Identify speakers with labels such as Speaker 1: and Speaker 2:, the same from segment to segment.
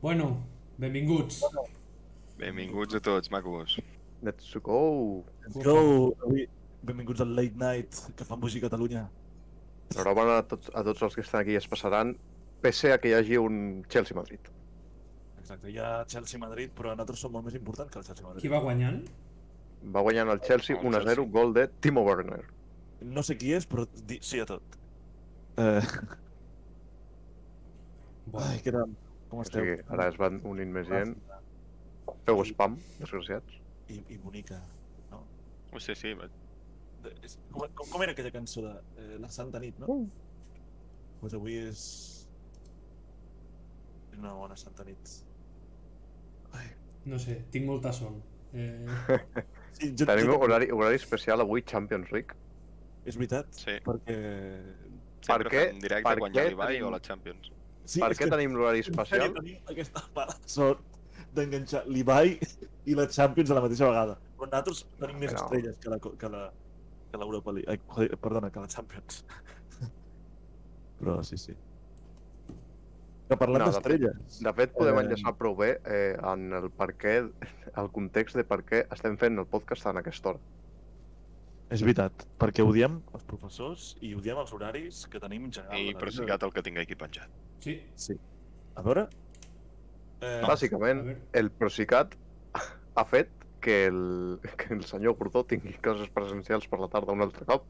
Speaker 1: Bueno, benvinguts.
Speaker 2: Benvinguts a tots, macos.
Speaker 3: Let's go!
Speaker 4: Let's go! Avui, benvinguts al Late Night que fan bugir Catalunya.
Speaker 3: Enhorabona a, tots, a tots els que estan aquí es passaran, pese a que hi hagi un Chelsea-Madrid.
Speaker 4: Exacte, hi ha Chelsea-Madrid, però nosaltres som molt més important que el Chelsea-Madrid.
Speaker 1: Qui va guanyant?
Speaker 3: Va guanyant el Chelsea
Speaker 2: El
Speaker 3: 1-0,
Speaker 2: Chelsea.
Speaker 3: gol de Timo Werner.
Speaker 4: No sé qui és, però di... sí a tot. Eh,
Speaker 1: Bueno,
Speaker 4: ai, que gran. Com
Speaker 3: O
Speaker 4: esteu?
Speaker 3: sigui, ara es van unint més gent. Feu spam, desgraciats.
Speaker 4: I, I bonica.
Speaker 2: Ho sé, Oh, sí, va-
Speaker 4: De- és- Com, com, com era aquella cançó de eh, La Santa Nit, no?
Speaker 3: Uh.
Speaker 4: Doncs pues avui és... Una bona Santa Nit. Ai,
Speaker 1: no sé, tinc molta son. Eh,
Speaker 4: sí, jo,
Speaker 3: Tenim
Speaker 4: jo,
Speaker 3: horari, horari especial avui, Champions League.
Speaker 4: És veritat,
Speaker 2: sí.
Speaker 4: perquè...
Speaker 2: Sempre
Speaker 3: què-
Speaker 2: fem directe
Speaker 3: per
Speaker 2: quan hi ha
Speaker 3: què
Speaker 2: l'Ibai
Speaker 3: tenim-
Speaker 2: o la Champions.
Speaker 4: Sí,
Speaker 3: per
Speaker 4: és
Speaker 3: què
Speaker 4: que-
Speaker 3: tenim l'horari especial?
Speaker 4: En sèrio, tenim aquesta mala sort d'enganxar l'Ibai i la Champions a la mateixa vegada. Però nosaltres tenim més
Speaker 3: Però-
Speaker 4: estrelles que la, co- que la, que l'Europa League. Ai, joder, perdona, que la Champions. Però sí, sí. Que parlant
Speaker 3: No, de-
Speaker 4: d'estrelles...
Speaker 3: De fet, podem
Speaker 4: Eh,
Speaker 3: enllaçar prou bé eh, en el per què, el context de per què estem fent el podcast en aquesta hora.
Speaker 4: És veritat, perquè odiem els professors i odiem els horaris que tenim en
Speaker 3: Ah,
Speaker 4: general.
Speaker 2: I
Speaker 4: a la
Speaker 2: però
Speaker 4: vida.
Speaker 2: sí que el que tinc aquí penjat.
Speaker 1: sí,
Speaker 4: Sí. A veure... Eh,
Speaker 1: a
Speaker 3: Bàsicament,
Speaker 1: veure.
Speaker 3: el Procicat ha fet que el, que el senyor Gordó tingui classes presencials per la tarda un altre cop.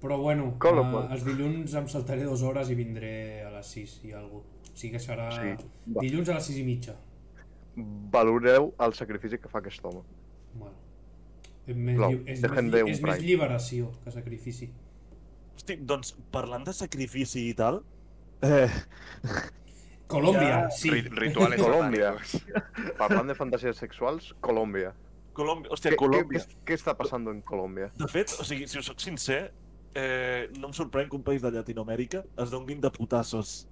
Speaker 1: Però bueno,
Speaker 3: Con lo
Speaker 1: eh,
Speaker 3: cual.
Speaker 1: els dilluns em saltaré dues hores i vindré a les 6 i algú. O sigui que serà
Speaker 3: Sí. Va.
Speaker 1: dilluns a les 6 i mitja.
Speaker 3: Valoreu el sacrifici que fa aquest home.
Speaker 1: Bueno. És més,
Speaker 3: Plou,
Speaker 1: lli- és, més,
Speaker 3: deixem
Speaker 1: lli-
Speaker 3: de un
Speaker 1: és més
Speaker 3: brai.
Speaker 1: lliberació que sacrifici.
Speaker 4: Hosti, doncs, parlant de sacrifici i tal... Eh,
Speaker 1: Colòmbia,
Speaker 4: Ja.
Speaker 1: sí.
Speaker 2: Ri- rituales
Speaker 3: Colòmbia.
Speaker 2: satánicos.
Speaker 3: Parlant de fantasies sexuals, Colòmbia.
Speaker 4: Colòmbia...
Speaker 3: Què,
Speaker 4: Hòstia,
Speaker 3: què,
Speaker 4: Colòmbia...
Speaker 3: què, què està passant en Colòmbia?
Speaker 4: De fet, o sigui, si us soc sincer, eh, no em sorprèn que un país de Llatinoamèrica es donguin de putazos.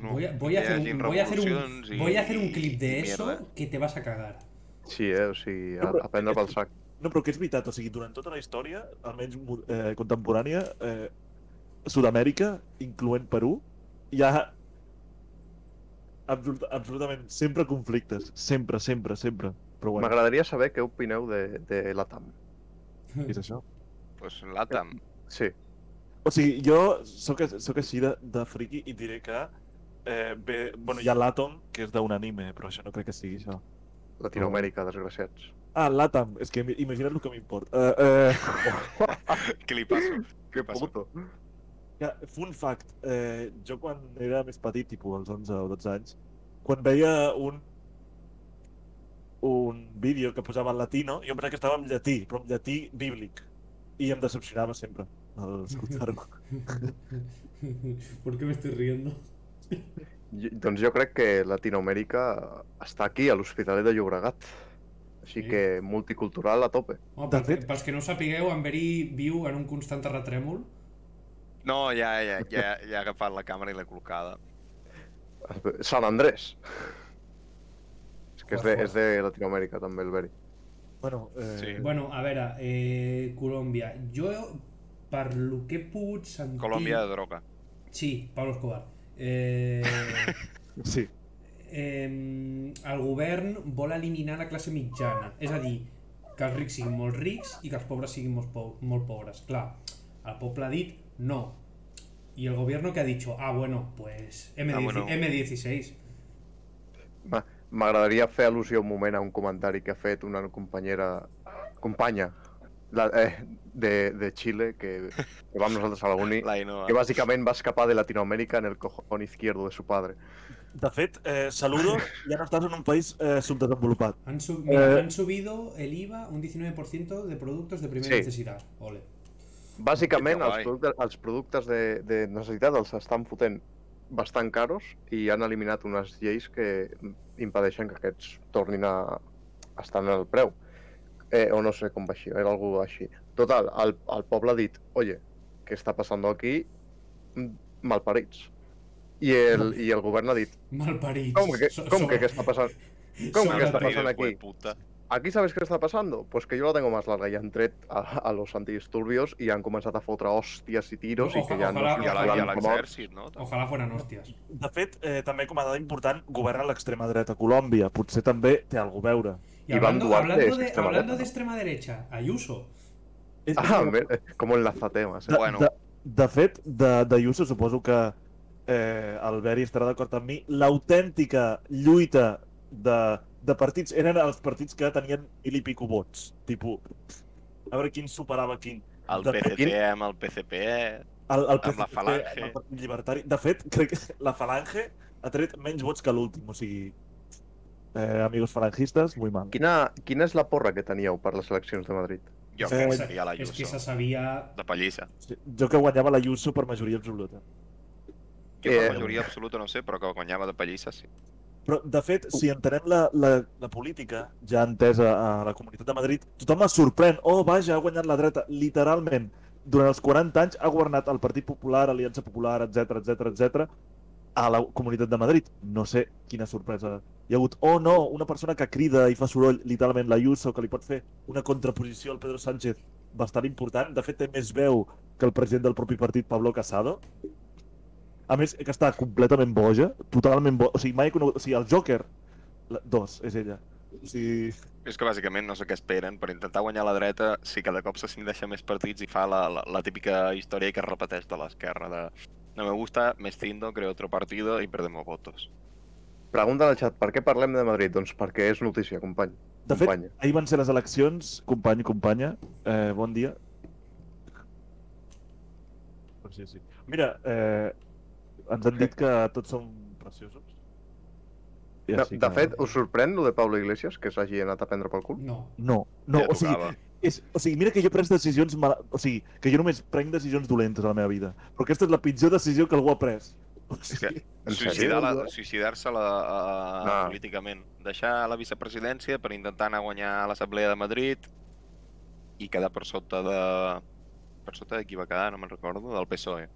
Speaker 2: No,
Speaker 1: Voy a, voy a
Speaker 2: que hi
Speaker 1: hacer un,
Speaker 2: hagin
Speaker 1: voy a hacer un,
Speaker 2: revolucions i-
Speaker 1: voy a hacer un clip de
Speaker 2: i
Speaker 1: eso
Speaker 2: mierda.
Speaker 1: que te vas a cagar.
Speaker 3: Sí, eh? O sigui, a,
Speaker 4: No, però-
Speaker 3: a prendre pel sac.
Speaker 4: No, però que és veritat, o sigui, durant tota la història, almenys mo- eh, contemporània, eh, Sud-amèrica, incloent Perú, hi ha absolut, absolutament sempre conflictes. Sempre, sempre, sempre. Però bueno,
Speaker 3: M'agradaria saber què opineu de, de l'ATAM.
Speaker 4: és això.
Speaker 2: Pues l'Atam.
Speaker 3: Sí,
Speaker 4: O sigui, jo sóc, sóc així de, de friki i diré que eh, bé, bueno, hi ha l'Atom, que és d'un anime, però això no crec que sigui això.
Speaker 3: Latinoamèrica, desgraciats.
Speaker 4: Ah, l'Atam, és que imagina't el que m'importa. Eh, eh,
Speaker 2: Què li passa?
Speaker 3: Que
Speaker 2: passa?
Speaker 3: puto.
Speaker 4: Ja, fun fact, eh, jo quan era més petit, tipus als 11 o 12 anys, quan veia un un vídeo que posava en latino, jo em pensava que estava en llatí, però en llatí bíblic. I em decepcionava sempre al escoltar-ho.
Speaker 1: ¿Por qué me estoy riendo?
Speaker 3: Jo- Doncs jo crec que Latinoamèrica està aquí, a l'Hospitalet de Llobregat. Així
Speaker 1: Sí.
Speaker 3: que multicultural a tope.
Speaker 1: Home,
Speaker 4: De
Speaker 1: pel,
Speaker 4: fet-
Speaker 1: pels que no ho sapigueu, en Verí viu en un constant terratrèmol.
Speaker 2: No, ja, ja, ja, ja ha agafat la càmera i l'ha col·locada.
Speaker 3: Sant Andrés. És que és de,
Speaker 1: Joder.
Speaker 3: és de Latinoamèrica, també, el Beri.
Speaker 4: Bueno, eh,
Speaker 2: Sí.
Speaker 1: Bueno, a veure, eh, Colòmbia. Jo, per lo que he pogut sentir...
Speaker 2: Colòmbia de droga.
Speaker 1: Sí, Pablo Escobar. Eh,
Speaker 4: sí.
Speaker 1: eh, el govern vol eliminar la classe mitjana. És a dir, que els rics siguin molt rics i que els pobres siguin molt, po molt pobres. Clar, el poble ha dit no. I el gobierno que ha dicho, ah, bueno, pues M10
Speaker 2: Ah, bueno.
Speaker 1: M16.
Speaker 3: Ma- M'agradaria fer al·lusió un moment a un comentari que ha fet una companyera... Companya la, eh, de, de Xile, que, que va amb nosaltres a la uni,
Speaker 2: La Innova.
Speaker 3: que bàsicament va escapar de Latinoamèrica en el cojón izquierdo de su padre.
Speaker 4: De fet, eh, saludo, ja no estàs en un país eh, subdesenvolupat.
Speaker 1: Han, sub- mira,
Speaker 4: Eh.
Speaker 1: han subido el IVA un 19% de productos de primera
Speaker 3: Sí.
Speaker 1: necesidad. Ole.
Speaker 3: Bàsicament,
Speaker 2: Que
Speaker 3: els
Speaker 2: guai.
Speaker 3: productes, els productes de, de necessitat els estan fotent bastant caros i han eliminat unes lleis que impedeixen que aquests tornin a estar en el preu. Eh, o no sé com va així, era algú així. Total, el, el poble ha dit, oye, què està passant aquí? Mm, Malparits. I el, I el govern ha dit,
Speaker 1: Malparits.
Speaker 3: com que,
Speaker 1: So-
Speaker 3: com
Speaker 1: sobre-
Speaker 3: que què està passant?
Speaker 1: sobre-
Speaker 3: que què està
Speaker 2: Madrid,
Speaker 3: passant
Speaker 2: hue
Speaker 3: aquí?
Speaker 2: puta.
Speaker 3: Aquí sabes qué está pasando? Pues que yo la tengo más larga y han tret a, a los antidisturbios y han comenzat a fotre hòsties i tiros i
Speaker 1: Oja-
Speaker 3: que ja no
Speaker 1: ojalà-
Speaker 2: I a la- i a
Speaker 3: circularan morts.
Speaker 2: l'exèrcit, no? També.
Speaker 1: Ojalà foren hòsties.
Speaker 4: De fet, eh, també com a dada important, governa l'extrema dreta a Colòmbia. Potser també té alguna a veure.
Speaker 1: Y
Speaker 3: Iván
Speaker 1: hablando,
Speaker 3: Duarte
Speaker 1: hablando,
Speaker 3: es
Speaker 1: de,
Speaker 3: extrema
Speaker 1: hablando
Speaker 3: derecha,
Speaker 1: de
Speaker 3: ¿no?
Speaker 1: extrema derecha, Ayuso.
Speaker 4: És-
Speaker 3: Ah, mira, com enlaza temes, eh?
Speaker 4: de,
Speaker 2: Bueno.
Speaker 4: de, de fet, de, de Yuso suposo que eh, Albert hi estarà d'acord amb mi, l'autèntica lluita de, de partits eren els partits que tenien mil i pico vots. Tipo, a veure quin superava quin.
Speaker 2: El
Speaker 4: De-
Speaker 2: PCP amb el PCP...
Speaker 4: El, el
Speaker 2: Amb la
Speaker 4: PCC,
Speaker 2: Falange.
Speaker 4: El Partit Llibertari. De fet, crec que la Falange ha tret menys vots que l'últim, o sigui... Eh, amigos falangistes, muy mal.
Speaker 3: Quina, quina és la porra que teníeu per les eleccions de Madrid?
Speaker 2: Jo
Speaker 4: Eh,
Speaker 2: crec que
Speaker 4: és
Speaker 2: seria la
Speaker 1: Es que se
Speaker 2: Lluçó.
Speaker 1: sabía.
Speaker 2: De pallissa.
Speaker 4: Sí, Jo que guanyava la Yuso per majoria absoluta.
Speaker 2: Jo per
Speaker 3: Eh,
Speaker 2: majoria absoluta no ho sé, però que guanyava de pallissa sí.
Speaker 4: Però, de fet, si entenem la, la, la política ja entesa a la Comunitat de Madrid, tothom es sorprèn. Oh, vaja, ha guanyat la dreta. Literalment, durant els 40 anys ha governat el Partit Popular, Aliança Popular, etc etc etc a la Comunitat de Madrid. No sé quina sorpresa hi ha hagut. Oh, no, una persona que crida i fa soroll, literalment la Ayuso, que li pot fer una contraposició al Pedro Sánchez bastant important. De fet, té més veu que el president del propi partit, Pablo Casado. A més, que està completament boja, totalment boja. O sigui, mai he conegut... O sigui, el Joker, la... dos, és ella. O sigui,
Speaker 2: És que bàsicament no sé què esperen. Per intentar guanyar la dreta, sí que de cop s'assigna més partits i fa la, la, la típica història que es repeteix de l'esquerra de no me gusta, me extindo, creo otro partido y perdemos votos.
Speaker 3: Pregunta al xat, per què parlem de Madrid? Doncs perquè és notícia, company.
Speaker 4: de fet,
Speaker 3: Companya.
Speaker 4: ahir van ser les eleccions, company, companya, eh, bon dia. Però Sí, sí. Mira, eh, ens han dit que tots som preciosos. I
Speaker 3: De,
Speaker 4: així
Speaker 3: de
Speaker 4: que-
Speaker 3: fet, us sorprèn lo de Pablo Iglesias, que s'hagi anat a prendre pel cul?
Speaker 1: No.
Speaker 4: No, no,
Speaker 2: ja
Speaker 4: o sigui,
Speaker 2: tocava.
Speaker 4: és, o sigui, mira que jo prenc decisions mal... O sigui, que jo només prenc decisions dolentes a la meva vida. Però aquesta és la pitjor decisió que algú ha pres. O
Speaker 2: És
Speaker 4: sigui,
Speaker 3: En
Speaker 2: Suïcidar
Speaker 3: sèrio?
Speaker 2: la- Suïcidar-se la, a- a-
Speaker 3: No.
Speaker 2: políticament. Deixar la vicepresidència per intentar anar a guanyar a l'Assemblea de Madrid i quedar per sota de... Per sota de qui va quedar, no me'n recordo, del PSOE.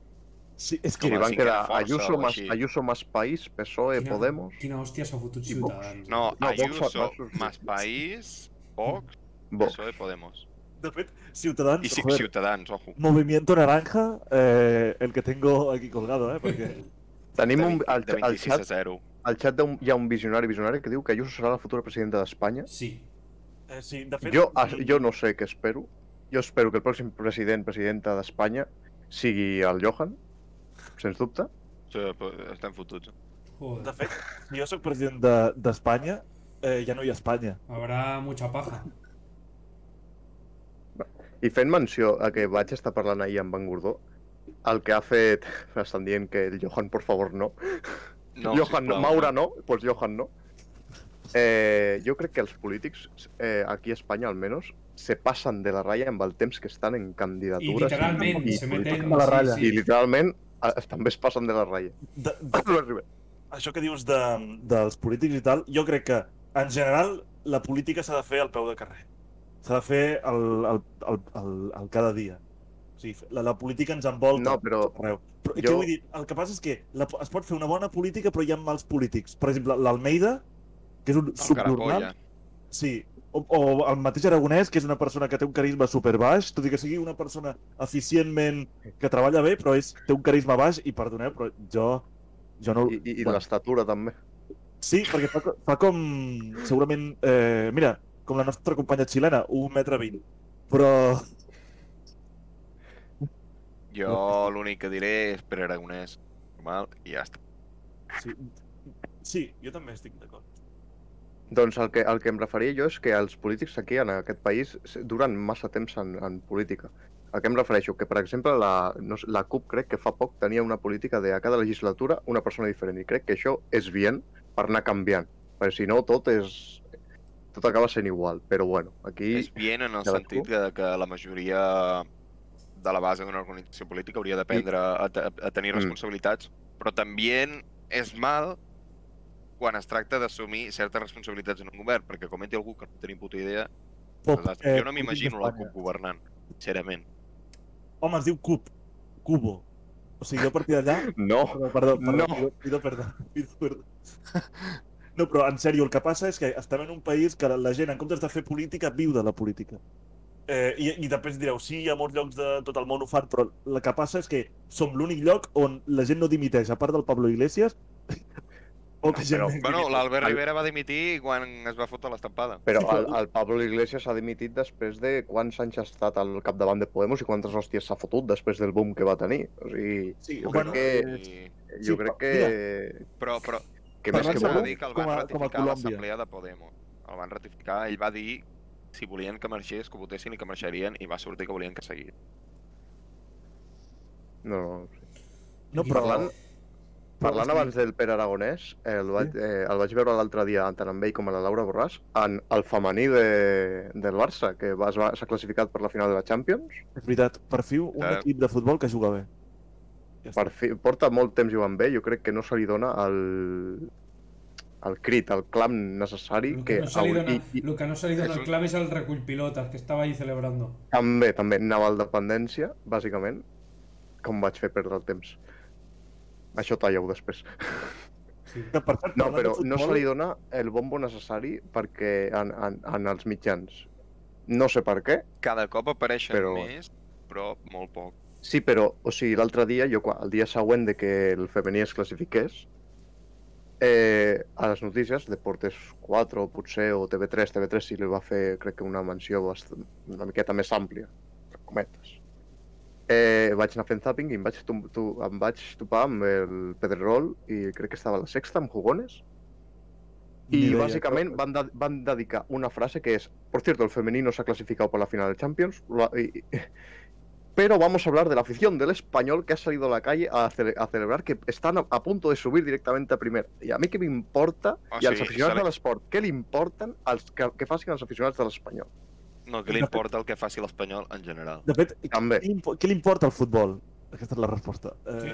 Speaker 4: sí, és
Speaker 3: Sí,
Speaker 4: que...
Speaker 2: Com a
Speaker 3: van
Speaker 2: cinquena
Speaker 3: quedar
Speaker 2: força
Speaker 3: Ayuso
Speaker 2: o
Speaker 3: más,
Speaker 2: així.
Speaker 3: Ayuso más País, PSOE,
Speaker 1: Quina-
Speaker 3: E, Podemos,
Speaker 1: Quina hòstia s'ha fotut
Speaker 3: I Vox.
Speaker 1: Ciutadans.
Speaker 2: No,
Speaker 3: No, Vox
Speaker 2: Ayuso,
Speaker 3: va sortir.
Speaker 2: Más País, Vox,
Speaker 3: Vox.
Speaker 2: PSOE, E, Podemos.
Speaker 4: De fet, Ciutadans...
Speaker 2: I ci-
Speaker 4: Ah, joder,
Speaker 2: Ciutadans, ojo.
Speaker 4: Movimiento Naranja, eh, el que tengo aquí colgado, eh, perquè...
Speaker 3: Tenim
Speaker 2: E. De
Speaker 3: un,
Speaker 2: vint-
Speaker 3: al,
Speaker 2: de
Speaker 3: al
Speaker 2: 26 a
Speaker 3: xat,
Speaker 2: 0.
Speaker 3: al xat d'un- hi ha un visionari visionari que diu que Ayuso serà la futura presidenta d'Espanya.
Speaker 1: Sí.
Speaker 4: Eh, sí, de fet...
Speaker 3: Jo, a- jo no sé què espero. Jo espero que el pròxim president, presidenta d'Espanya, sigui el Johan, sens dubte.
Speaker 2: Sí, però estem fotuts.
Speaker 4: De
Speaker 1: Joder.
Speaker 4: fet, si jo sóc president de- d'Espanya, de, eh, ja no hi ha Espanya.
Speaker 1: Habrá mucha paja.
Speaker 3: I fent menció a que vaig estar parlant ahir amb en Gordó, el que ha fet... Estan dient que el Johan, por favor, no. No, Johan, no,
Speaker 2: sisplau,
Speaker 3: Maura no, doncs pues Johan no. Eh, jo crec que els polítics, eh, aquí a Espanya almenys, se passen de la ratlla amb el temps que estan en
Speaker 1: I
Speaker 3: candidatures.
Speaker 1: literalment
Speaker 3: i
Speaker 1: se meten...
Speaker 4: a la ratlla.
Speaker 3: I literalment eh, també es passen de la ratlla.
Speaker 4: De, de,
Speaker 3: Pablo Arribas.
Speaker 4: això que dius de, dels polítics i tal, jo crec que, en general, la política s'ha de fer al peu de carrer. S'ha de fer el, el, el, el, el cada dia. O sigui, la, la política ens envolta.
Speaker 3: No, però
Speaker 4: arreu. Però, jo...
Speaker 3: Jo-
Speaker 4: què vull dir? El que passa és que la, po- es pot fer una bona política, però hi ha mals polítics. Per exemple, l'Almeida, que és un
Speaker 2: El
Speaker 4: subnormal,
Speaker 2: Caracolla.
Speaker 4: Sí, o, o el mateix Aragonès, que és una persona que té un carisma super baix, tot i que sigui una persona eficientment que treballa bé, però és, té un carisma baix i perdoneu, però jo, jo no...
Speaker 3: i, i, i l'estatura també.
Speaker 4: Sí, perquè fa, co- fa com... Segurament... Eh, mira, com la nostra companya xilena, un metre vint. Però...
Speaker 2: Jo l'únic que diré és Pere Aragonès. Normal, i ja està.
Speaker 4: Sí, sí jo també estic d'acord.
Speaker 3: Doncs el que, el que em referia jo és que els polítics aquí, en aquest país, s- duren massa temps en, en política. A què em refereixo? Que, per exemple, la, no sé, la CUP crec que fa poc tenia una política de a cada legislatura una persona diferent i crec que això és bien per anar canviant, perquè si no tot és... tot acaba sent igual, però bueno, aquí...
Speaker 2: És bien en el
Speaker 3: Cadascú?
Speaker 2: sentit que, que la majoria de la base d'una organització política hauria d'aprendre a, te- a tenir
Speaker 3: Mm.
Speaker 2: responsabilitats, però també és mal quan es tracta d'assumir certes responsabilitats en un govern, perquè comenti algú que no tenim puta idea,
Speaker 3: Oh,
Speaker 2: desastre.
Speaker 3: eh,
Speaker 2: jo
Speaker 4: Eh,
Speaker 2: no m'imagino la CUP governant, sincerament.
Speaker 4: Home, es diu Cub. Cubo. O sigui, jo a partir d'allà
Speaker 3: No,
Speaker 4: Perdó, perdó, perdó,
Speaker 3: No.
Speaker 4: pido- pido perdón, pido perdón. No, però en sèrio, el que passa és que estem en un país que la, la gent, en comptes de fer política, viu de la política. Eh, i, I després direu, sí, a molts llocs de tot el món ho fan, però el que passa és que som l'únic lloc on la gent no dimiteix, a part del Pablo Iglesias, poca gent...
Speaker 3: però-
Speaker 4: dimiteix.
Speaker 2: Bueno, l'Albert
Speaker 3: Al-
Speaker 2: Rivera va dimitir quan es va fotre l'estampada.
Speaker 3: Però
Speaker 4: Sí, però-
Speaker 3: el, el Pablo Iglesias s'ha dimitit després de quants anys ha estat al capdavant de Podemos i quantes hòsties s'ha fotut després del boom que va tenir. O sigui,
Speaker 4: Sí,
Speaker 3: jo
Speaker 4: bueno,
Speaker 3: crec que...
Speaker 2: I...
Speaker 3: Jo
Speaker 4: sí,
Speaker 3: crec
Speaker 4: però-
Speaker 3: que...
Speaker 2: Però, però,
Speaker 3: que
Speaker 2: Però
Speaker 3: més
Speaker 4: Parlant
Speaker 2: que
Speaker 3: que
Speaker 4: de
Speaker 2: va
Speaker 3: boom...
Speaker 4: Vox,
Speaker 2: dir que el
Speaker 4: com
Speaker 2: van
Speaker 4: a- com a
Speaker 2: ratificar a
Speaker 4: Colòmbia.
Speaker 2: l'assemblea de Podemos. El van ratificar, ell va dir si volien que marxés, que votessin i que marxarien, i va sortir que volien que seguís.
Speaker 3: No, no.
Speaker 4: No,
Speaker 1: Aquí
Speaker 4: però...
Speaker 3: Parlant, parlant abans del Pere Aragonès, el vaig, eh, el vaig veure l'altre dia tant amb ell com a la Laura Borràs en el femení de, del Barça, que va- es va- s'ha classificat per la final de la Champions.
Speaker 4: És veritat, per fi un
Speaker 2: Clar.
Speaker 4: equip de futbol que juga bé. Ja
Speaker 3: Per fi, porta molt temps jugant bé, jo crec que no se li dona el, el crit, el clam necessari
Speaker 1: Lo
Speaker 3: que,
Speaker 1: que, no se li
Speaker 3: hauria-
Speaker 1: dona,
Speaker 3: i, i,
Speaker 1: lo que no se li dona
Speaker 2: Eso-
Speaker 1: el clave es al recull pilotas que estaba ahí celebrando.
Speaker 3: també, també, naval dependència, bàsicament, com vaig fer perdre el temps. Això talla-ho després.
Speaker 1: Sí.
Speaker 4: Que, per cert,
Speaker 3: No,
Speaker 4: parlant de
Speaker 3: però no
Speaker 4: futbol,
Speaker 3: se li dona el bombo necessari perquè en, en, en els mitjans. No sé per què,
Speaker 2: Cada cop apareixen
Speaker 3: Però-
Speaker 2: però... més, però molt poc.
Speaker 3: Sí, però, o sigui, l'altre dia, jo, quan- el dia següent de que el femení es classifiqués, eh, a les notícies, Deportes 4, potser, o TV3, TV3 sí li va fer, crec que una menció bast... una miqueta més àmplia, entre cometes. Eh, vaig anar fent zapping i em vaig, tom- tu, em vaig topar amb el Pedrerol i crec que estava a la sexta, amb Jugones,
Speaker 4: ni
Speaker 3: i
Speaker 4: idea. pues.
Speaker 3: bàsicament van, de van dedicar una frase que és Por cierto, el femenino se ha clasificado para la final de Champions la- y- y- Pero vamos a hablar de la afición del español que ha salido a la calle a, cele- a celebrar que están a, a punto de subir directamente a primera. I a mi què m'importa?
Speaker 2: O
Speaker 3: I als
Speaker 2: sigui,
Speaker 3: aficionats
Speaker 2: se li-
Speaker 3: de l'esport, què li importen els que, que facin els aficionats de l'espanyol?
Speaker 2: No, que li importa el que faci l'Espanyol en general.
Speaker 4: De fet,
Speaker 3: També.
Speaker 4: què li impo- què li importa el futbol? Aquesta és la resposta. Eh,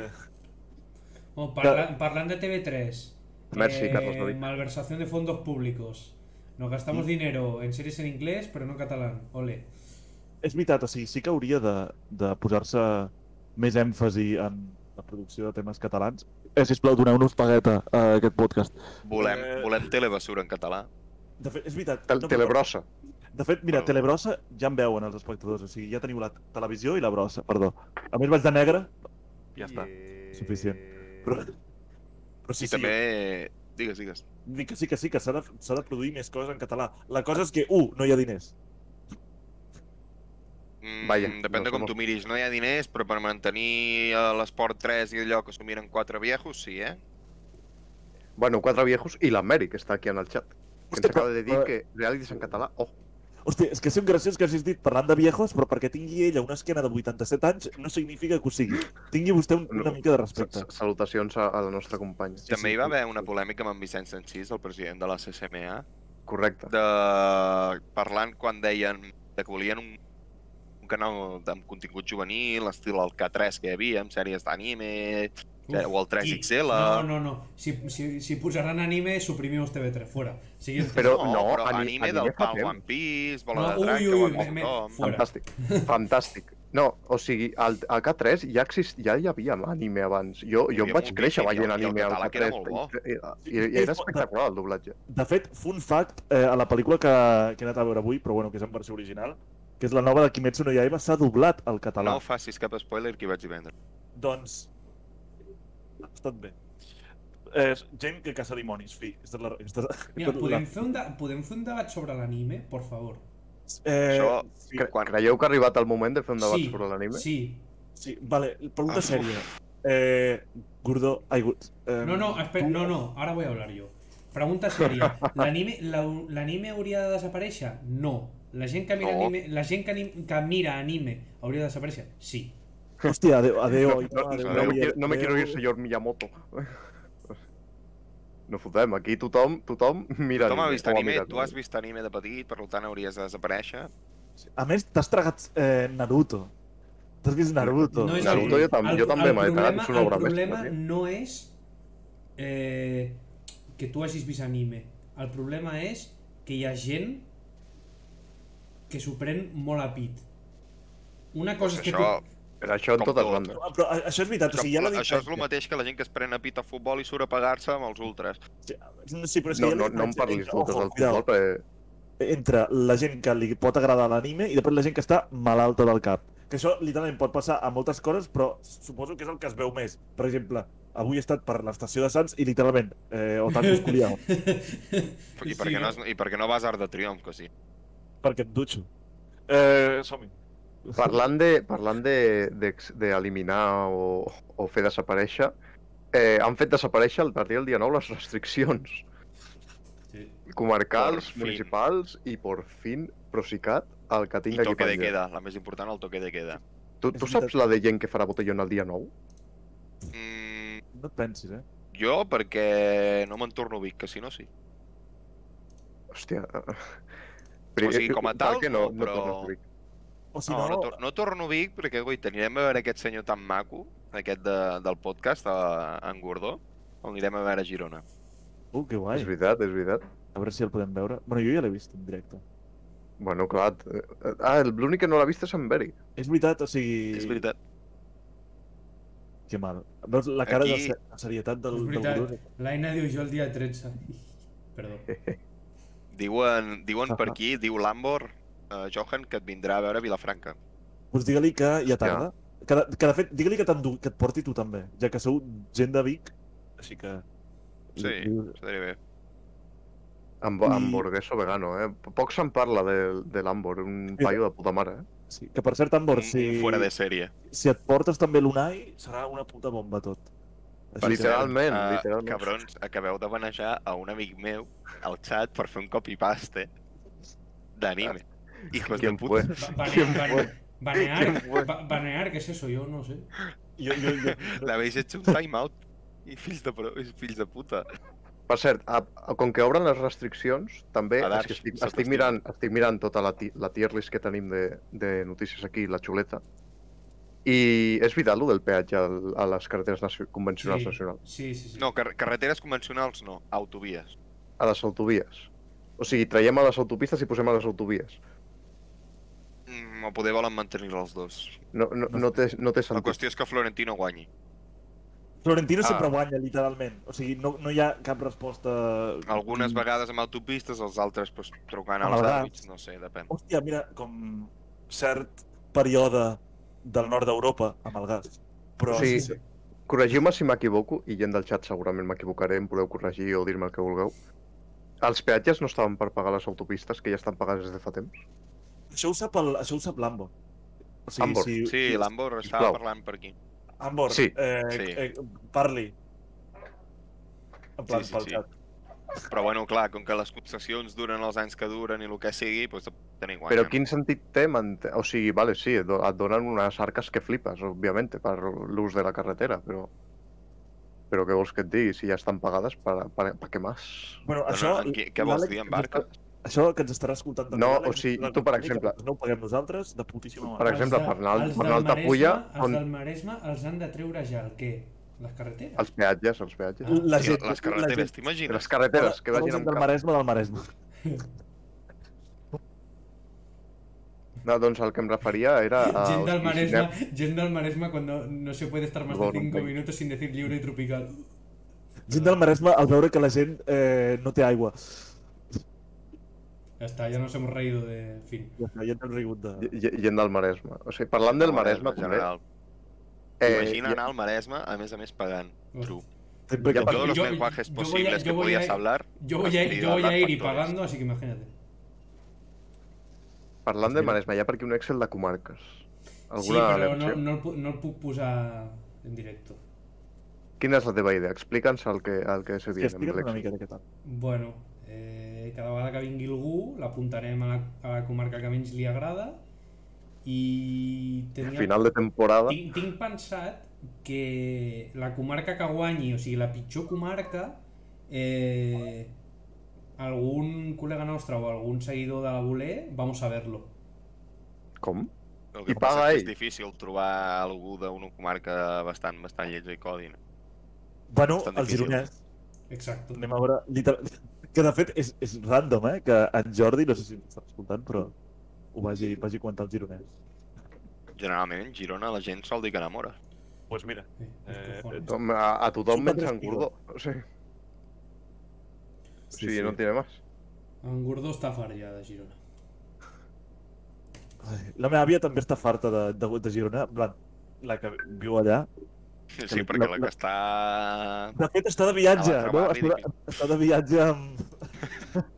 Speaker 1: Bueno, parla- parlan de TV3.
Speaker 3: Merci, Carlos David. Mm.
Speaker 1: Malversación eh, de fondos públicos. Nos gastamos dinero en series en inglés, pero no en catalán. Ole.
Speaker 4: És veritat, o sigui, sí que hauria de, de posar-se més èmfasi en la producció de temes catalans. Eh, sisplau, doneu-nos pagueta a aquest podcast.
Speaker 2: Volem,
Speaker 4: Eh.
Speaker 2: volem telebasura en català.
Speaker 4: De fet, és veritat.
Speaker 3: Tel
Speaker 4: no,
Speaker 3: Telebrossa.
Speaker 4: De fet, mira, Telebrossa ja en veuen els espectadors, o sigui, ja teniu la televisió i la brossa, perdó. A més vaig de negre, ja està. suficient. Però, però sí,
Speaker 2: I també... Digues, digues.
Speaker 4: Dic que sí, que sí, que s'ha de, s'ha de produir més coses en català. La cosa és que, un, no hi ha diners.
Speaker 2: Mm,
Speaker 3: Vaja,
Speaker 2: depèn
Speaker 3: no
Speaker 2: de com
Speaker 3: som-
Speaker 2: tu miris. No hi ha diners, però per mantenir eh, l'Esport 3 i allò que s'ho miren quatre viejos, sí, eh?
Speaker 3: Bueno, quatre viejos i la Mary, que està aquí en el xat. Que ens
Speaker 4: Hosti,
Speaker 3: acaba de dir
Speaker 4: però-
Speaker 3: que realities en català, oh,
Speaker 4: Hòstia, és que sóc graciós que hagis dit parlant de viejos, però perquè tingui ella una esquena de 87 anys no significa que ho sigui. Tingui vostè un,
Speaker 3: No.
Speaker 4: una mica de
Speaker 3: sa-
Speaker 4: respecte.
Speaker 3: sa- salutacions a, a la nostra companya.
Speaker 4: Sí,
Speaker 2: També
Speaker 4: sí,
Speaker 2: hi va
Speaker 4: sí.
Speaker 2: haver una polèmica amb en Vicenç Sanchís, el president de la CCMA,
Speaker 3: Correcte.
Speaker 2: de... parlant quan deien de que volien un, un canal amb contingut juvenil, estil el K3 que hi havia, amb sèries d'anime, eh, o el 3XL...
Speaker 3: ah.
Speaker 1: No, no, no. Si, si, si pusieran anime, suprimimos TV3. Fuera. Siguiente.
Speaker 3: Però no,
Speaker 2: però
Speaker 3: ani-
Speaker 2: anime,
Speaker 3: anime
Speaker 2: del
Speaker 3: fa
Speaker 2: pal
Speaker 3: temps.
Speaker 2: One Piece, Bola
Speaker 1: No,
Speaker 2: de Drac,
Speaker 1: ui,
Speaker 2: que
Speaker 1: ui,
Speaker 2: ho
Speaker 1: ui,
Speaker 2: ha
Speaker 1: me-
Speaker 2: tothom.
Speaker 1: fora.
Speaker 3: Fantàstic, fantàstic. No, o sigui, al, a K3 ja, exist, ja hi havia anime abans. Jo,
Speaker 2: Hi havia
Speaker 3: jo em vaig
Speaker 2: moltíssim, i
Speaker 3: créixer
Speaker 2: el- i
Speaker 3: veient
Speaker 2: el
Speaker 3: anime al
Speaker 2: català, que era
Speaker 3: K3.
Speaker 2: molt bo.
Speaker 3: I, i, i era espectacular el doblatge.
Speaker 4: De fet, fun fact, eh, a la pel·lícula que, que he anat a veure avui, però bueno, que és en versió original, que és la nova de Kimetsu no Yaiba, s'ha doblat al català.
Speaker 2: No facis cap spoiler que hi vaig divendres.
Speaker 4: Doncs... Ha estat bé. Eh, gent que caça dimonis, fi. Aquesta és la... Aquesta,
Speaker 1: Mira,
Speaker 4: aquesta és
Speaker 1: ¿podem fer, un de- podem fer un debat sobre l'anime, por favor?
Speaker 4: la... Eh,
Speaker 2: Això-
Speaker 4: sí,
Speaker 3: Cre
Speaker 2: Quan-
Speaker 3: Creieu que ha arribat el moment de fer un debat
Speaker 1: Sí,
Speaker 3: sobre l'anime?
Speaker 1: Sí.
Speaker 4: sí, vale, pregunta
Speaker 2: Ah,
Speaker 4: sèria. Eh, Gordó, ai, Gord, eh,
Speaker 1: No, no, espera, no, no, ahora voy a hablar yo. Pregunta seria, l'anime la- l'anime hauria de desaparèixer? No. La gent que mira,
Speaker 2: No.
Speaker 1: anime, la gent que, anim, que mira anime hauria de desaparèixer? Sí.
Speaker 4: Hòstia, adeu, adeu.
Speaker 3: No, no,
Speaker 4: adeu,
Speaker 3: no, me
Speaker 4: adeu,
Speaker 3: quiero- no me
Speaker 4: adeu.
Speaker 3: quiero ir, señor Miyamoto. No fotem, aquí tothom, tothom mira
Speaker 2: Tothom ha
Speaker 3: anime,
Speaker 2: vist
Speaker 3: o
Speaker 2: anime,
Speaker 3: mirat
Speaker 2: tu has vist anime de petit, per tant hauries de desaparèixer.
Speaker 4: A més, t'has tragat eh, Naruto. T'has vist Naruto.
Speaker 1: No és
Speaker 3: Naruto
Speaker 1: anime.
Speaker 3: jo tam-
Speaker 1: El-
Speaker 3: jo també
Speaker 1: el
Speaker 3: m'he
Speaker 1: problema-
Speaker 3: tragat, és una obra
Speaker 1: El problema
Speaker 3: mestra, tio.
Speaker 1: no és eh, que tu hagis vist anime. El problema és que hi ha gent que s'ho pren molt a pit. Una cosa
Speaker 2: Pues
Speaker 1: és que
Speaker 2: això-
Speaker 1: tu...
Speaker 3: Però això en
Speaker 2: Com
Speaker 3: totes
Speaker 2: tot.
Speaker 3: bandes.
Speaker 4: Ah, Però a- això és veritat, o
Speaker 2: Això,
Speaker 4: sigui, hi ha la
Speaker 2: això és el
Speaker 4: diferència.
Speaker 2: mateix que la gent que es pren a pit a futbol i surt a pagar-se amb els ultres.
Speaker 4: Sí, però és que
Speaker 3: No,
Speaker 4: hi ha la
Speaker 3: no, no em
Speaker 4: diferència
Speaker 3: parlis
Speaker 4: entre-
Speaker 3: d'ultres
Speaker 4: ojo,
Speaker 3: del
Speaker 4: cuidao,
Speaker 3: futbol, perquè
Speaker 4: entre la gent que li pot agradar l'anime i després la gent que està malalta del cap. Que això literalment pot passar a moltes coses, però suposo que és el que es veu més. Per exemple, avui he estat per l'estació de Sants i literalment, eh, Otaku Esculiao,
Speaker 2: I per, què no, es- i per què no vas a Art de Triomf, que sí?
Speaker 4: perquè em dutxo. Eh, som-hi.
Speaker 3: Parlant de, parlant de, de, de eliminar o, o fer desaparèixer, eh, han fet desaparèixer a partir del dia 9 les restriccions
Speaker 1: Sí.
Speaker 3: comarcals,
Speaker 2: Por fin.
Speaker 3: municipals i, por fin, Procicat, el que
Speaker 2: I
Speaker 3: tinc aquí
Speaker 2: toque de
Speaker 3: penjat.
Speaker 2: queda, la més important, el toque de queda.
Speaker 3: Tu, tu saps la de gent que farà botellón el dia 9?
Speaker 2: Mm,
Speaker 4: No et pensis, eh?
Speaker 2: jo, perquè no me'n torno a Vic, que si no, sí.
Speaker 3: Hòstia... eh,
Speaker 2: O sigui, com a tal,
Speaker 3: per què eh, no,
Speaker 2: no, però-
Speaker 3: no tornes a Vic?
Speaker 4: O si
Speaker 2: No,
Speaker 4: no,
Speaker 2: no, tor no torno a Vic, perquè, coi, anirem a veure aquest senyor tan maco, aquest de, del podcast, a, en Gordó, o anirem a veure a Girona.
Speaker 4: Uh, que guai.
Speaker 3: És veritat, és veritat.
Speaker 4: A veure si el podem veure. Bueno, jo ja l'he vist en directe.
Speaker 3: Bueno, clar... t- Ah, el- l'únic que no l'ha vist és en Beri.
Speaker 4: És veritat, o sigui...
Speaker 2: És veritat.
Speaker 4: Que mal. Veus la cara
Speaker 2: Aquí-
Speaker 4: de ser- de seritat del,
Speaker 1: És
Speaker 4: del
Speaker 1: veritat.
Speaker 4: Bruno?
Speaker 1: L'Aina diu jo el dia 13. Perdó.
Speaker 2: Diuen, diuen per
Speaker 4: Ahà.
Speaker 2: aquí, diu l'Ambor, uh, Johan, que et vindrà a veure a Vilafranca.
Speaker 4: Doncs digue-li que ja tarda. Que, de- que de fet, digue-li que, t'endu- que et porti tu també, ja que sou gent de Vic, així que...
Speaker 2: Sí,
Speaker 4: Li- li-
Speaker 2: estaria bé.
Speaker 3: Amb,
Speaker 4: I-
Speaker 3: amb Borgueso vegano, eh? Poc se'n parla de, de l'Ambor, un
Speaker 4: Mira.
Speaker 3: paio de puta mare, eh?
Speaker 4: Sí. Que per cert, Ambor,
Speaker 2: Un-
Speaker 4: si,
Speaker 2: un Fora de sèrie.
Speaker 4: si et portes també l'Unai, serà una puta bomba tot. Així
Speaker 3: Literal.
Speaker 4: Que...
Speaker 3: Literalment,
Speaker 2: Eh,
Speaker 3: literalment.
Speaker 2: Cabrons, acabeu de manejar a un amic meu al xat per fer un copy-paste d'anime. Hijos de
Speaker 3: Quien
Speaker 2: puta.
Speaker 3: fue?
Speaker 1: Ba-
Speaker 3: ¿Quién
Speaker 1: Banear,
Speaker 3: fue?
Speaker 1: banear,
Speaker 3: ¿Quién fue?
Speaker 1: ba- banear, ¿qué es eso? Yo no sé.
Speaker 4: Jo, jo, jo,
Speaker 2: L'habéis hecho un timeout. I fills de, pro... fills de puta.
Speaker 3: Per cert, a, a, com que obren les restriccions, també
Speaker 2: A
Speaker 3: és
Speaker 2: Dark,
Speaker 3: que estic,
Speaker 2: sota
Speaker 3: estic,
Speaker 2: estima.
Speaker 3: mirant, estic mirant tota la, ti- la tier list que tenim de, de notícies aquí, la xuleta, i és vital, lo del peatge al- a les carreteres nacio convencionals
Speaker 1: Sí.
Speaker 3: nacionals,
Speaker 1: Sí, sí, sí.
Speaker 2: No, car carreteres convencionals no, autovies.
Speaker 3: a les autovies. O sigui, traiem a les autopistes i posem a les autovies.
Speaker 2: Mm, o poder volen mantenir els dos.
Speaker 3: No, no, no, té, no té
Speaker 2: La
Speaker 3: sentit.
Speaker 2: qüestió és que Florentino guanyi.
Speaker 4: Florentino
Speaker 3: Ah.
Speaker 4: sempre guanya, literalment. O sigui, no, no hi ha cap resposta...
Speaker 2: Algunes
Speaker 4: Mm.
Speaker 2: vegades amb autopistes, els altres pues, trucant
Speaker 4: A
Speaker 2: als
Speaker 4: vegades.
Speaker 2: àrbits, no sé, depèn.
Speaker 4: Hòstia, mira, com cert període del nord d'Europa amb el gas. Però
Speaker 3: O sigui, Corregiu-me si m'equivoco, i gent del xat segurament m'equivocaré, em podeu corregir o dir-me el que vulgueu. Els peatges no estaven per pagar les autopistes, que ja estan pagades des de fa temps?
Speaker 4: això ho sap, el, això ho sap l'Ambo. O sigui,
Speaker 3: Ambor,
Speaker 4: si,
Speaker 2: Sí, l'Ambor estava
Speaker 3: sisplau.
Speaker 2: parlant per aquí.
Speaker 4: Ambor,
Speaker 3: Sí.
Speaker 4: eh,
Speaker 2: Sí.
Speaker 4: eh, parli. En plan,
Speaker 2: Sí, sí,
Speaker 4: pel
Speaker 2: sí.
Speaker 4: xat.
Speaker 2: Però bueno, clar, com que les concessions duren els anys que duren i el que sigui, doncs tenir guany.
Speaker 3: Però quin sentit té mantenir... O sigui, vale, sí, et do- et donen unes arques que flipes, òbviament, per l'ús de la carretera, però... Però què vols que et digui? Si ja estan pagades, per, per, per què més?
Speaker 4: Bueno,
Speaker 2: No,
Speaker 4: això,
Speaker 2: no, en qui- què vols
Speaker 4: l'Àlex
Speaker 2: dir, en
Speaker 4: ens està-
Speaker 2: barques?
Speaker 4: Això que ens estarà escoltant també,
Speaker 3: No,
Speaker 4: l'Àlex,
Speaker 3: o sigui,
Speaker 4: ens
Speaker 3: tu, per
Speaker 4: dirà que
Speaker 3: exemple-
Speaker 4: No ho paguem nosaltres, de putíssima
Speaker 3: Per
Speaker 4: manera.
Speaker 1: Els
Speaker 3: exemple,
Speaker 1: de-
Speaker 3: per anar al-
Speaker 1: els
Speaker 3: per
Speaker 1: del
Speaker 3: anar a Altafulla,
Speaker 1: Maresme- Els
Speaker 3: on-
Speaker 1: del Maresme els han de treure ja el què? Les carreteres?
Speaker 3: Els peatges, els peatges.
Speaker 1: exemple-
Speaker 4: la
Speaker 2: Sí,
Speaker 4: gent,
Speaker 2: les carreteres,
Speaker 3: I
Speaker 2: t'imagines?
Speaker 3: les carreteres, que
Speaker 4: la
Speaker 3: vagin
Speaker 4: gent
Speaker 3: amb
Speaker 4: del
Speaker 3: cap.
Speaker 4: Maresme del Maresme.
Speaker 3: No, doncs el que em referia era... a-
Speaker 1: Gent del
Speaker 3: o sigui,
Speaker 1: Maresme,
Speaker 3: anem-
Speaker 1: gent del Maresme cuando no se puede estar más de
Speaker 3: Perdón,
Speaker 1: 5
Speaker 3: venga.
Speaker 1: minutos sin decir libre y tropical.
Speaker 4: Gent del Maresme, al veure que la gent eh, no té aigua.
Speaker 1: Ya está, ya nos hemos reído de... en fin.
Speaker 4: Ja està, ja ens hem rigut de...
Speaker 3: Ge- ge- Gent del Maresme. O sigui, parlant del Maresme,
Speaker 2: en
Speaker 3: també...
Speaker 2: general.
Speaker 3: eh,
Speaker 2: Imagina
Speaker 3: ja-
Speaker 2: anar al Maresme, a més a més pagant.
Speaker 1: Uf.
Speaker 2: True.
Speaker 4: Sempre
Speaker 3: Ja
Speaker 4: que...
Speaker 3: per-
Speaker 2: Todos los
Speaker 1: yo-
Speaker 2: lenguajes
Speaker 1: yo voy a-
Speaker 2: posibles que
Speaker 1: yo voy a-
Speaker 2: podías hablar.
Speaker 1: Yo voy a ir, yo
Speaker 2: has
Speaker 1: voy a
Speaker 2: tenido
Speaker 1: ir y
Speaker 2: factores.
Speaker 1: pagando, así que imagínate.
Speaker 3: Parlant de Maresme, hi ha per aquí un Excel de comarques.
Speaker 1: Sí,
Speaker 3: Alguna
Speaker 1: pero no,
Speaker 3: versió?
Speaker 1: no, el, pu- no el puc posar en directo.
Speaker 3: Quina és la teva idea? Explica'ns el que, el que se
Speaker 4: Que
Speaker 3: viene amb
Speaker 4: explica't una
Speaker 3: l'Excel.
Speaker 4: mica de què tal.
Speaker 1: Bueno, eh, cada vegada que vingui algú l'apuntarem a, la, a la comarca que menys li agrada i tenia,
Speaker 3: Final de temporada.
Speaker 1: tinc, tinc pensat que la comarca que guanyi, o sigui, la pitjor comarca, eh, algun col·lega nostre o algun seguidor de la Voler, vamos a verlo.
Speaker 3: Com?
Speaker 2: El que
Speaker 3: I
Speaker 2: passa
Speaker 3: paga
Speaker 2: és que és
Speaker 3: ell.
Speaker 2: difícil trobar algú d'una comarca bastant, bastant lletja i codi. no?
Speaker 4: Bueno,
Speaker 2: Bastant
Speaker 4: el
Speaker 2: difícil.
Speaker 4: gironès,
Speaker 1: Exacto.
Speaker 4: anem a veure... Literal... Que de fet és, és random, eh? Que en Jordi, no sé si m'està escoltant, però ho vagi, vagi comentar el gironès.
Speaker 2: Generalment, Girona la gent sol dir que enamora.
Speaker 5: Pues mira,
Speaker 1: Sí, és
Speaker 5: Eh,
Speaker 1: cojones.
Speaker 3: Tothom- A, a tothom
Speaker 4: Súper
Speaker 3: menys en
Speaker 4: respiro.
Speaker 3: Gordó. O sigui, sí, sí, no tiene más.
Speaker 2: Ah.
Speaker 1: En Gordó està fart ja de Girona.
Speaker 4: Ai, La meva àvia també està farta de, de, de Girona, en plan, la que viu allà.
Speaker 2: Sí,
Speaker 4: la-
Speaker 2: perquè la
Speaker 4: la-
Speaker 2: que està...
Speaker 4: De fet, està de viatge,
Speaker 2: A l'altre
Speaker 4: no?
Speaker 2: barri,
Speaker 4: Està de, està de viatge amb...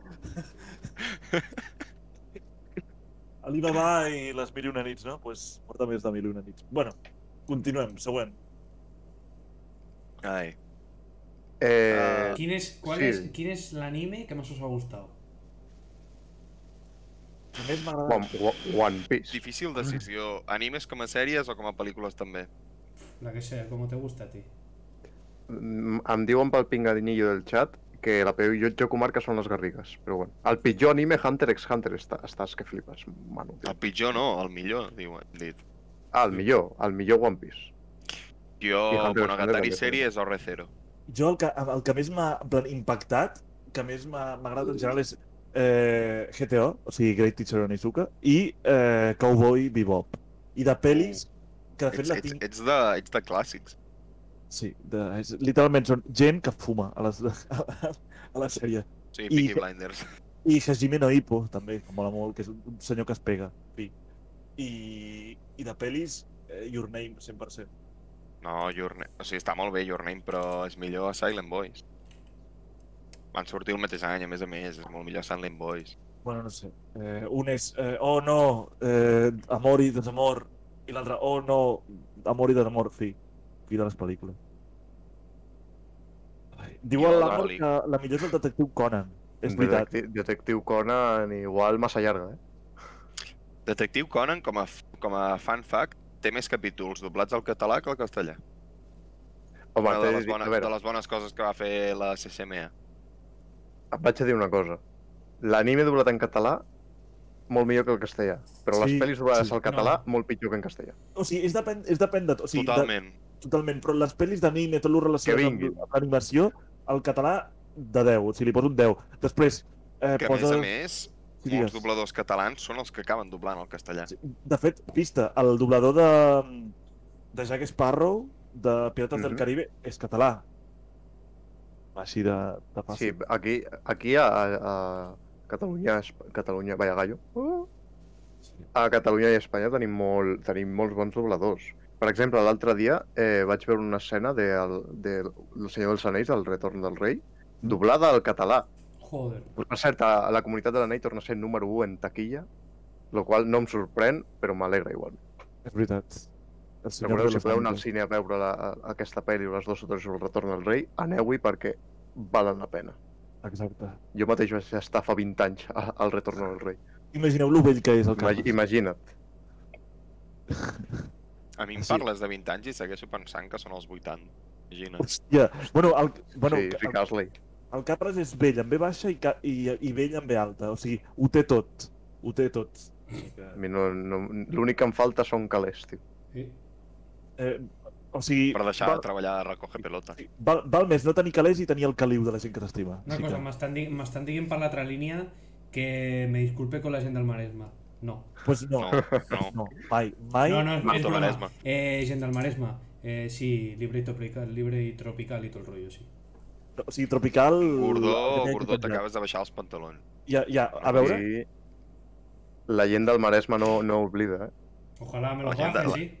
Speaker 5: a l'Ibaba i les mil i una nits, no? Doncs pues,
Speaker 4: Porta més de mil i una nits. Bueno, continuem, següent.
Speaker 2: Ai,
Speaker 3: Eh,
Speaker 1: Quin és, qual
Speaker 3: sí.
Speaker 1: és, quin és l'anime que més us ha gustat?
Speaker 4: A més m'agrada...
Speaker 3: One, One Piece.
Speaker 2: difícil decisió. Animes com a sèries o com a pel·lícules també?
Speaker 1: La que sea, com t'ha gustat a ti.
Speaker 3: Mm, Em diuen pel pingadinillo del chat que la peor llotja comarca són les Garrigues, però bueno. El pitjor anime Hunter x Hunter està, estàs que flipes, Manu. tio.
Speaker 2: El pitjor no, el millor, diuen. Dit.
Speaker 3: Ah, el millor, el millor One Piece.
Speaker 2: Jo,
Speaker 3: I Hunter x Hunter
Speaker 2: Monogatari
Speaker 3: també.
Speaker 2: sèrie és R0.
Speaker 4: Jo el que, el que més m'ha en plan, impactat, que més m'ha m'ha agradat en general és eh, GTO, o sigui, Great Teacher Onizuka, i eh, Cowboy Bebop. I de pel·lis, que de
Speaker 2: Ets,
Speaker 4: fet la
Speaker 2: ets,
Speaker 4: tinc...
Speaker 2: ets, de, ets de clàssics.
Speaker 4: Sí, de, és, literalment són gent que fuma a, les, a, la- a la sèrie.
Speaker 2: Sí,
Speaker 4: I-
Speaker 2: Peaky Blinders.
Speaker 4: I Hajime no Ippo, també, que mola molt, que és un, un senyor que es pega. I, i, i de pel·lis, eh, Your Name, 100%.
Speaker 2: No, Your Name... O sigui, està molt bé Your Name, però és millor Silent Boys. Van sortir el mateix any, a més a més, és molt millor Silent Boys.
Speaker 4: Bueno, no sé. Eh, un és, eh, oh no, eh, amor i desamor. I l'altre, oh no, amor i desamor. Fi. Fi de les pel·lícules. Ai, diu
Speaker 2: I
Speaker 4: el
Speaker 2: la
Speaker 4: Lamar
Speaker 2: Dolly.
Speaker 4: que la millor és el detectiu Conan. És veritat.
Speaker 3: Detecti Detectiu Conan, igual massa llarga, eh?
Speaker 2: Detectiu Conan, com a, f- com a fan fact, té més capítols doblats al català que al castellà.
Speaker 3: Home,
Speaker 2: Una
Speaker 3: t'he
Speaker 2: de
Speaker 3: de
Speaker 2: les,
Speaker 3: dir, a
Speaker 2: bones,
Speaker 3: veure,
Speaker 2: de les bones coses que va fer la CCMA.
Speaker 3: et vaig a dir una cosa. L'anime doblat en català, molt millor que el castellà. Però
Speaker 4: Sí,
Speaker 3: les pel·lis doblades
Speaker 4: sí.
Speaker 3: al català, molt pitjor que en castellà.
Speaker 4: O sigui, és depèn, és depèn de tot. O sigui, de,
Speaker 2: Totalment.
Speaker 4: totalment. Però les pel·lis d'anime, tot el relacionat
Speaker 3: Que
Speaker 4: amb,
Speaker 3: vinguin.
Speaker 4: amb l'animació, el català de 10. O sigui, li poso un 10. Després, eh,
Speaker 2: Que a més
Speaker 4: posa...
Speaker 2: a més,
Speaker 4: Sí,
Speaker 2: molts
Speaker 4: digues.
Speaker 2: dobladors catalans són els que acaben doblant al castellà.
Speaker 4: Sí, De fet, pista, el doblador de, de Jack Sparrow, de Pirates del
Speaker 3: Mhm.
Speaker 4: Caribe, és català. Així de, de
Speaker 3: Sí,
Speaker 4: fàcil.
Speaker 3: aquí, aquí a, a, a Catalunya, a Esp- Catalunya, vaya gallo. Uh! A Catalunya i a Espanya tenim, molt, tenim molts bons dobladors. Per exemple, l'altre dia eh, vaig veure una escena de, de, El Senyor dels Anells, El retorn del rei, doblada al català.
Speaker 1: Joder.
Speaker 3: Per cert, a, a la comunitat de l'anell torna a ser número 1 en taquilla, lo qual no em sorprèn, però m'alegra igual.
Speaker 4: És veritat. El senyor
Speaker 3: Recordeu,
Speaker 4: de
Speaker 3: si
Speaker 4: les
Speaker 3: podeu anar al
Speaker 4: Anilles.
Speaker 3: cine a veure la, a- aquesta pel·li, les dues o tres sobre el retorn del rei, aneu-hi perquè valen la pena.
Speaker 4: Exacte.
Speaker 3: Jo mateix vaig estar fa 20 anys a- al retorn del rei.
Speaker 4: Imagineu lo vell que és el
Speaker 3: Imag
Speaker 4: Carles.
Speaker 3: Imagina't.
Speaker 2: A mi em
Speaker 4: Sí.
Speaker 2: parles de 20 anys i segueixo pensant que són els 80. Imagina.
Speaker 4: Hòstia. Bueno, el, bueno,
Speaker 3: sí, Rick
Speaker 4: el,
Speaker 3: Astley.
Speaker 4: el Carles és vell en B baixa i, ca- i, i vell en B alta. O sigui, ho té tot. Ho té tot. O sigui
Speaker 3: A
Speaker 4: que-
Speaker 3: mi No, no, L'únic que em falta són calés, tio.
Speaker 1: Eh,
Speaker 4: Eh, o sigui,
Speaker 2: Per deixar
Speaker 4: val,
Speaker 2: de treballar a recoger pelota.
Speaker 4: val, val més no tenir calés i tenir el caliu de la gent que t'estima.
Speaker 1: una
Speaker 4: Així
Speaker 1: cosa,
Speaker 4: que,
Speaker 1: m'estan di m'estan dient per l'altra línia que me disculpe con la gent del Maresme. No.
Speaker 4: pues no,
Speaker 2: No, no.
Speaker 4: no, mai, mai.
Speaker 1: No, no, és,
Speaker 2: Marta
Speaker 1: és broma.
Speaker 2: Maresme.
Speaker 1: Eh, gent del Maresme. Eh, sí, libre i tropical, libre i tropical i tot el rotllo, sí.
Speaker 4: O sigui, tropical...
Speaker 2: Gordó,
Speaker 4: Ja-
Speaker 2: Gordó, t'acabes de baixar els pantalons.
Speaker 4: Ja, ja, a veure, sí.
Speaker 3: I la gent del Maresme no, no oblida, eh?
Speaker 1: Ojalá me lo
Speaker 2: La gent
Speaker 1: bajen,
Speaker 2: de-
Speaker 1: sí.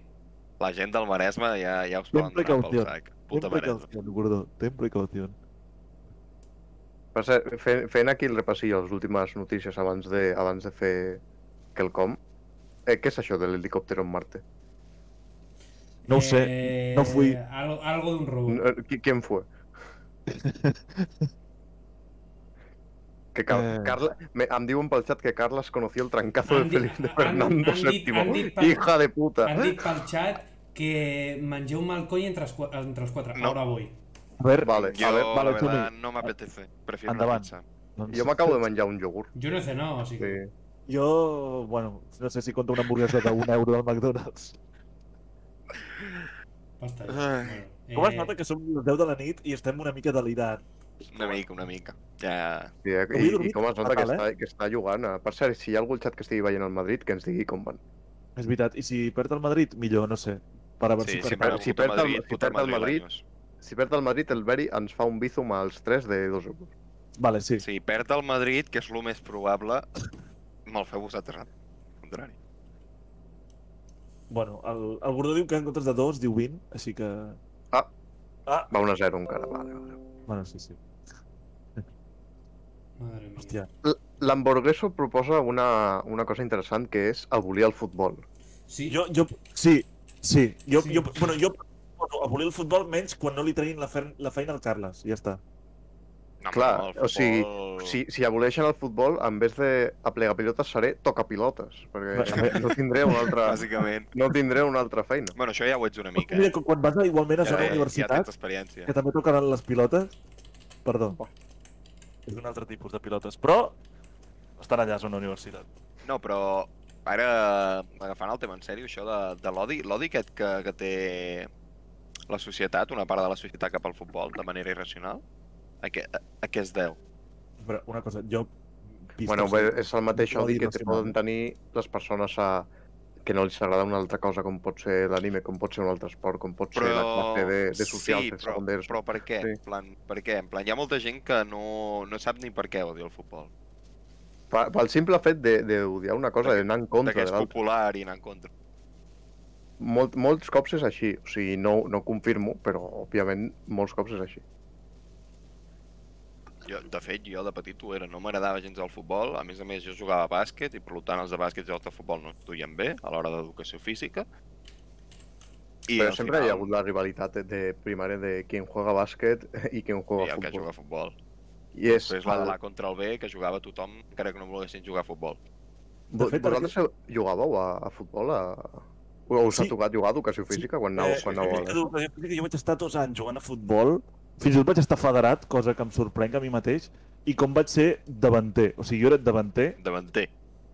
Speaker 2: La gent del Maresme ja, ja us
Speaker 4: Ten
Speaker 2: poden donar pel
Speaker 4: precaució.
Speaker 2: sac.
Speaker 4: ten
Speaker 2: Puta Maresme.
Speaker 4: precaució, Gordó, ten precaució.
Speaker 3: Per cert, fent, fent aquí el repassillo, les últimes notícies abans de, abans de fer quelcom, eh, què és això de l'helicòpter en Marte?
Speaker 4: No ho sé, no fui...
Speaker 1: Eh,
Speaker 4: eh.
Speaker 1: Algo, algo de un robot.
Speaker 3: No, qui- ¿Quién fue? que Car
Speaker 4: Eh.
Speaker 3: Carla, me, em diuen pel xat que Carles conoció el trancazo
Speaker 1: Han
Speaker 3: de
Speaker 1: dit-
Speaker 3: Felipe de
Speaker 1: han-
Speaker 3: Fernando
Speaker 1: han dit-
Speaker 3: VII.
Speaker 1: han dit pel-
Speaker 3: Hija de puta.
Speaker 1: Han dit pel xat que mengeu mal coll entre els, qua- entre els quatre.
Speaker 2: No.
Speaker 1: Ahora voy.
Speaker 4: A veure,
Speaker 3: Vale,
Speaker 2: Jo,
Speaker 3: a veure,
Speaker 2: la
Speaker 4: vale,
Speaker 2: verdad,
Speaker 4: Toni.
Speaker 2: no m'apetece. Prefiero una
Speaker 4: Endavant.
Speaker 2: pizza.
Speaker 4: doncs,
Speaker 3: jo m'acabo de menjar un iogurt.
Speaker 1: Yo no he cenado, así
Speaker 3: Sí.
Speaker 1: que...
Speaker 4: Jo, bueno, no sé si compta una hamburguesa d'un euro del McDonald's.
Speaker 1: Basta. ya.
Speaker 2: Ai.
Speaker 1: Bueno,
Speaker 4: Com es
Speaker 1: eh,
Speaker 4: nota que som les 10 de la nit i estem una mica delirant?
Speaker 2: Una mica, una mica. Ja...
Speaker 3: Sí, eh? I,
Speaker 4: Avui he
Speaker 3: I
Speaker 4: dormit
Speaker 3: com es nota que
Speaker 4: fatal,
Speaker 3: està, que està jugant. eh? Per cert, si hi ha algú al xat que estigui veient al Madrid, que ens digui com van.
Speaker 4: És veritat. I si perd el Madrid, millor, no sé. Per haver
Speaker 2: Sí,
Speaker 4: superat.
Speaker 2: sempre
Speaker 3: si
Speaker 2: si perd
Speaker 3: perd el-
Speaker 2: Madrid,
Speaker 3: si
Speaker 2: puta
Speaker 3: perd el
Speaker 2: Madrid,
Speaker 3: Madrid-
Speaker 2: Madrid.
Speaker 3: Si perd el Madrid, el Beri ens fa un bizum als 3 de 2 euros.
Speaker 4: Vale, sí.
Speaker 2: Si perd el Madrid, que és el més probable, me'l feu vosaltres. Al contrari.
Speaker 4: Bueno, el, el Gordó diu que en comptes de 2 diu 20, així que...
Speaker 5: Ah,
Speaker 3: Va 1 a 0 encara, vale, vale.
Speaker 4: Bueno, sí, sí.
Speaker 1: Madre mía.
Speaker 4: Hòstia.
Speaker 3: L- L'Hamburgueso proposa una, una cosa interessant que és abolir el futbol.
Speaker 1: Sí,
Speaker 5: jo,
Speaker 4: Jo, sí, sí. Jo,
Speaker 1: Sí.
Speaker 4: sí. jo, bueno, jo bueno, abolir el futbol menys quan no li treguin la, fer, la feina al Carles, ja està.
Speaker 2: No,
Speaker 3: Clar,
Speaker 2: home, el
Speaker 3: o sigui,
Speaker 2: futbol-
Speaker 3: Si, si aboleixen el futbol, en vez de aplegar pilotes seré toca pilotes, perquè no tindré una altra,
Speaker 2: Bàsicament.
Speaker 3: no tindré una altra feina.
Speaker 2: Bueno, això ja ho ets una mica.
Speaker 4: Mira,
Speaker 2: Eh?
Speaker 4: quan quan vas a, igualment a
Speaker 2: Ja,
Speaker 4: zona
Speaker 2: ja, ja Oh.
Speaker 4: universitat,
Speaker 2: tens experiència.
Speaker 4: que també tocaran les pilotes, perdó.
Speaker 5: és un altre tipus de pilotes, però estan allà a zona universitat.
Speaker 2: No, però ara, agafant el tema en sèrio, això de, de l'odi, l'odi aquest que, que té la societat, una part de la societat cap al futbol, de manera irracional, a què, a, a què es deu?
Speaker 4: Però una cosa, jo... Pistos,
Speaker 3: Bueno, bé, és el mateix
Speaker 4: Odi
Speaker 3: odi que
Speaker 4: nacional.
Speaker 3: poden tenir les persones a, que no els agrada una altra cosa, com pot ser l'anime, com pot ser un altre esport, com pot ser la classe de, de socials,
Speaker 2: sí,
Speaker 3: de
Speaker 2: però,
Speaker 3: secunders...
Speaker 2: però per què?
Speaker 3: Sí.
Speaker 2: Sí. En plan, per què? En plan, hi ha molta gent que no, no sap ni per què odia el futbol.
Speaker 3: Pe- Pel simple fet de- d'odiar una cosa, d'anar en
Speaker 2: De
Speaker 3: contra
Speaker 2: que
Speaker 3: de
Speaker 2: és
Speaker 3: l'altra.
Speaker 2: popular i anar en contra.
Speaker 3: Molt, molts cops és així, o sigui, no, no ho confirmo, però òbviament molts cops és així.
Speaker 2: Jo, de fet, jo de petit ho era, no m'agradava gens el futbol, a més a més jo jugava a bàsquet i per tant els de bàsquet i els de futbol no es duien bé a l'hora d'educació física. I
Speaker 3: Però
Speaker 2: al
Speaker 3: sempre hi ha
Speaker 2: final-
Speaker 3: hagut la rivalitat de, de primària de qui en juega bàsquet i qui en
Speaker 2: Sí,
Speaker 3: juega
Speaker 2: el que
Speaker 3: futbol.
Speaker 2: juga a futbol.
Speaker 3: I és...
Speaker 2: Després la de la contra el B, que jugava tothom, encara que no volguessin jugar a futbol.
Speaker 3: Vo-
Speaker 4: De fet,
Speaker 3: vosaltres jugàveu a, a futbol? A... O us
Speaker 4: Sí.
Speaker 3: ha tocat jugar a educació
Speaker 4: Sí. Eh,
Speaker 3: física quan anàveu, quan anàveu a
Speaker 4: jo, eh, jo vaig estar dos anys jugant a futbol, fins i tot vaig estar federat, cosa que em sorprenc a mi mateix, i com vaig ser davanter, o sigui, jo era davanter,
Speaker 2: Davanter.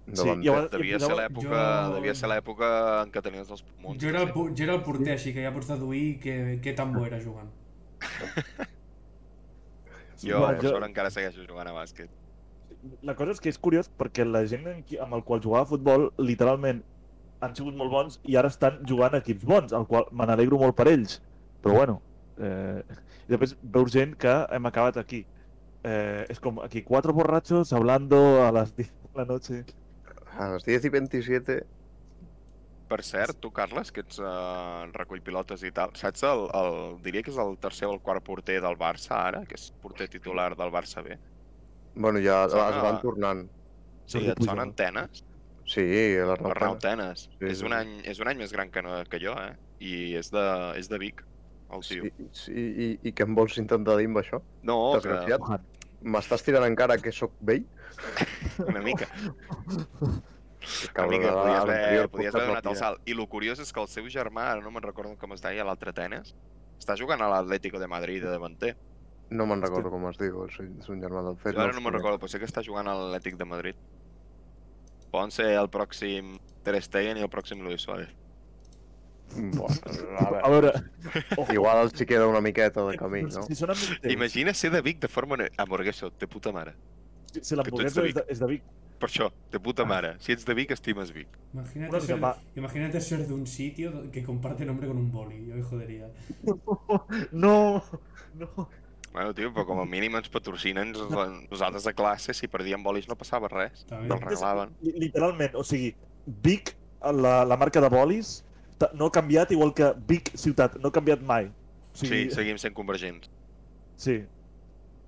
Speaker 3: davant.
Speaker 4: i a vegades-
Speaker 2: Devia
Speaker 4: i
Speaker 2: ser
Speaker 4: posava-
Speaker 2: l'època
Speaker 1: jo-
Speaker 2: devia ser l'època en què tenies els pulmons.
Speaker 1: Jo era, el,
Speaker 2: no sé.
Speaker 1: pu- jo era el porter, així que ja pots deduir que, que tan bo era jugant.
Speaker 2: Jo,
Speaker 4: Va,
Speaker 2: per
Speaker 4: jo-
Speaker 2: sort, encara segueixo jugant a bàsquet.
Speaker 4: La cosa és que és curiós perquè la gent amb, qui, amb el qual jugava a futbol literalment han sigut molt bons i ara estan jugant a equips bons, el qual me n'alegro molt per ells. Però bueno, eh, i després veus gent que hem acabat aquí. Eh, és com aquí, quatre borratxos hablando a les 10 de la noche.
Speaker 3: A les 10 i eh, 27...
Speaker 2: Per cert, tu, Carles, que ets eh, en recull pilotes i tal, saps el, el, diria que és el tercer o el quart porter del Barça ara, que és porter titular del Barça B?
Speaker 3: Bueno, ja
Speaker 2: Sona-
Speaker 3: es van tornant.
Speaker 2: Sí,
Speaker 4: Jordi
Speaker 2: et
Speaker 4: Pujol.
Speaker 2: sonen tenes?
Speaker 3: Sí, l'Arnau
Speaker 2: Arnau
Speaker 3: Tena.
Speaker 2: Tenes.
Speaker 3: Sí,
Speaker 2: És un
Speaker 3: sí.
Speaker 2: any, és un any més gran que, no, que jo, eh? I és de, és de Vic, el
Speaker 3: Sí,
Speaker 2: tio.
Speaker 3: sí, i, I què em vols intentar dir amb això?
Speaker 2: No, Oh, que,
Speaker 3: Desgraciat. M'estàs tirant encara que sóc vell?
Speaker 2: una mica.
Speaker 3: Cabrón,
Speaker 2: Amiga,
Speaker 3: a
Speaker 2: podies haver,
Speaker 3: l'anterior
Speaker 2: podies
Speaker 3: podcast
Speaker 2: haver
Speaker 3: no
Speaker 2: donat el
Speaker 3: tenia.
Speaker 2: salt. I el curiós és que el seu germà, ara no me'n recordo com es deia, l'altre tenes, està jugant a l'Atlético de Madrid de davanter.
Speaker 3: No me'n recordo com es diu, és un- és un germà del fet.
Speaker 2: Jo ara
Speaker 3: us
Speaker 2: no me'n
Speaker 3: conec.
Speaker 2: recordo, però sé que està jugant a l'Atlètic de Madrid. Poden ser el pròxim Ter Stegen i el pròxim Luis Suárez.
Speaker 3: Bueno, a
Speaker 4: A
Speaker 3: veure,
Speaker 4: veure,
Speaker 3: igual els hi queda una miqueta de camí, no?
Speaker 4: si són amics teus,
Speaker 2: Imagina ser de Vic de forma... ne- Hamburgueso, de puta mare. que tu
Speaker 4: si- si
Speaker 2: ets
Speaker 4: l'hamburguesa
Speaker 2: de
Speaker 4: és, de, és de Vic,
Speaker 2: Per això, de puta mare. Si ets de Vic, estimes Vic.
Speaker 1: Imagínate
Speaker 4: Bueno,
Speaker 1: ser,
Speaker 4: va.
Speaker 1: imagínate ser de un sitio do- que comparte nombre con un boli, yo me jodería.
Speaker 4: no, no.
Speaker 2: Bueno, tio, però com a mínim ens patrocinen nos- nosaltres a classe, si perdíem bolis no passava res.
Speaker 1: També.
Speaker 2: Te'l regalaven.
Speaker 4: Li- Literalment, o sigui, Vic, la, la marca de bolis, ta- no ha canviat igual que Vic ciutat, no ha canviat mai. O
Speaker 2: Sí, seguim sent convergents.
Speaker 4: Sí.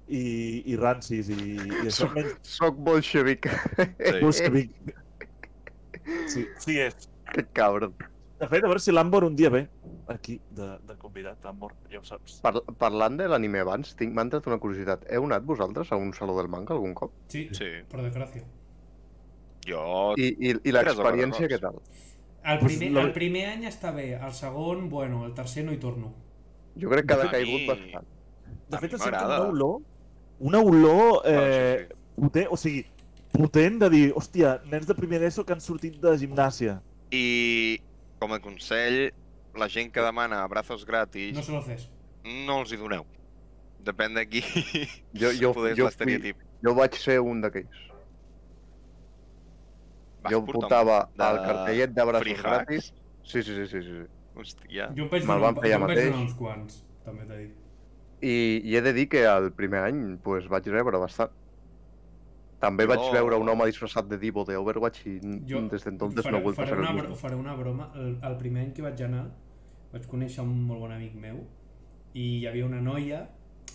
Speaker 4: I, i rancis i, i això
Speaker 3: Som-
Speaker 4: menys
Speaker 3: Soc bolxevic,
Speaker 2: Sí.
Speaker 4: bolxevic. Sí.
Speaker 5: Sí, és.
Speaker 3: que cabron.
Speaker 4: De fet, a veure si l'Ambor un dia ve aquí.
Speaker 5: De, de convidat, Tambor, ja ho saps.
Speaker 3: Par parlant de l'anime abans, tinc- m'ha entrat una curiositat. Heu anat vosaltres a un saló del manga algun cop?
Speaker 1: Sí,
Speaker 2: Sí.
Speaker 1: por desgracia.
Speaker 2: Jo
Speaker 3: I, i, i
Speaker 2: Tres o quatre
Speaker 3: l'experiència
Speaker 2: cops.
Speaker 3: què tal?
Speaker 1: El
Speaker 4: Pues
Speaker 1: primer,
Speaker 4: la-
Speaker 1: el primer any està bé, el segon, bueno, el tercer no hi torno.
Speaker 3: Jo crec que
Speaker 2: A
Speaker 3: ha caigut
Speaker 2: mi-
Speaker 3: bastant.
Speaker 4: De
Speaker 2: A
Speaker 4: fet,
Speaker 2: mi
Speaker 4: em sento
Speaker 2: m'agrada.
Speaker 4: una olor, una olor
Speaker 2: Bueno,
Speaker 4: eh,
Speaker 2: això sí.
Speaker 4: potent, o sigui, potent de dir, hòstia, nens de primer d'ESO que han sortit de gimnàsia.
Speaker 2: I com a consell, la gent que demana abrazos gratis,
Speaker 1: No
Speaker 2: no,
Speaker 1: se lo haces.
Speaker 2: no els hi doneu. Depèn de qui
Speaker 3: Jo, jo,
Speaker 2: poder és
Speaker 3: jo, fui,
Speaker 2: l'estereotip.
Speaker 3: jo vaig ser un d'aquells.
Speaker 2: Vas
Speaker 3: jo
Speaker 2: portar un
Speaker 3: portava
Speaker 2: de
Speaker 3: el cartellet de braços
Speaker 2: free hacks?
Speaker 3: gratis. Sí, sí, sí, sí, sí.
Speaker 2: Hòstia.
Speaker 1: Jo em vaig
Speaker 3: Me'l
Speaker 1: donar,
Speaker 3: van
Speaker 1: un- jo
Speaker 3: fer jo
Speaker 1: em vaig donar
Speaker 3: mateix.
Speaker 1: uns quants, també t'he dit.
Speaker 3: I, I he de dir que el primer any pues, vaig rebre bastant. També vaig
Speaker 2: Jo-
Speaker 3: veure un home disfressat de Divo de Overwatch i n-
Speaker 1: Jo
Speaker 3: Mm, des d'entonces
Speaker 1: faré-
Speaker 3: no he vuelto a
Speaker 1: faré
Speaker 3: fer el
Speaker 1: una, bro-
Speaker 3: mismo.
Speaker 1: faré una broma. El, el primer any que vaig anar vaig conèixer un molt bon amic meu i hi havia una noia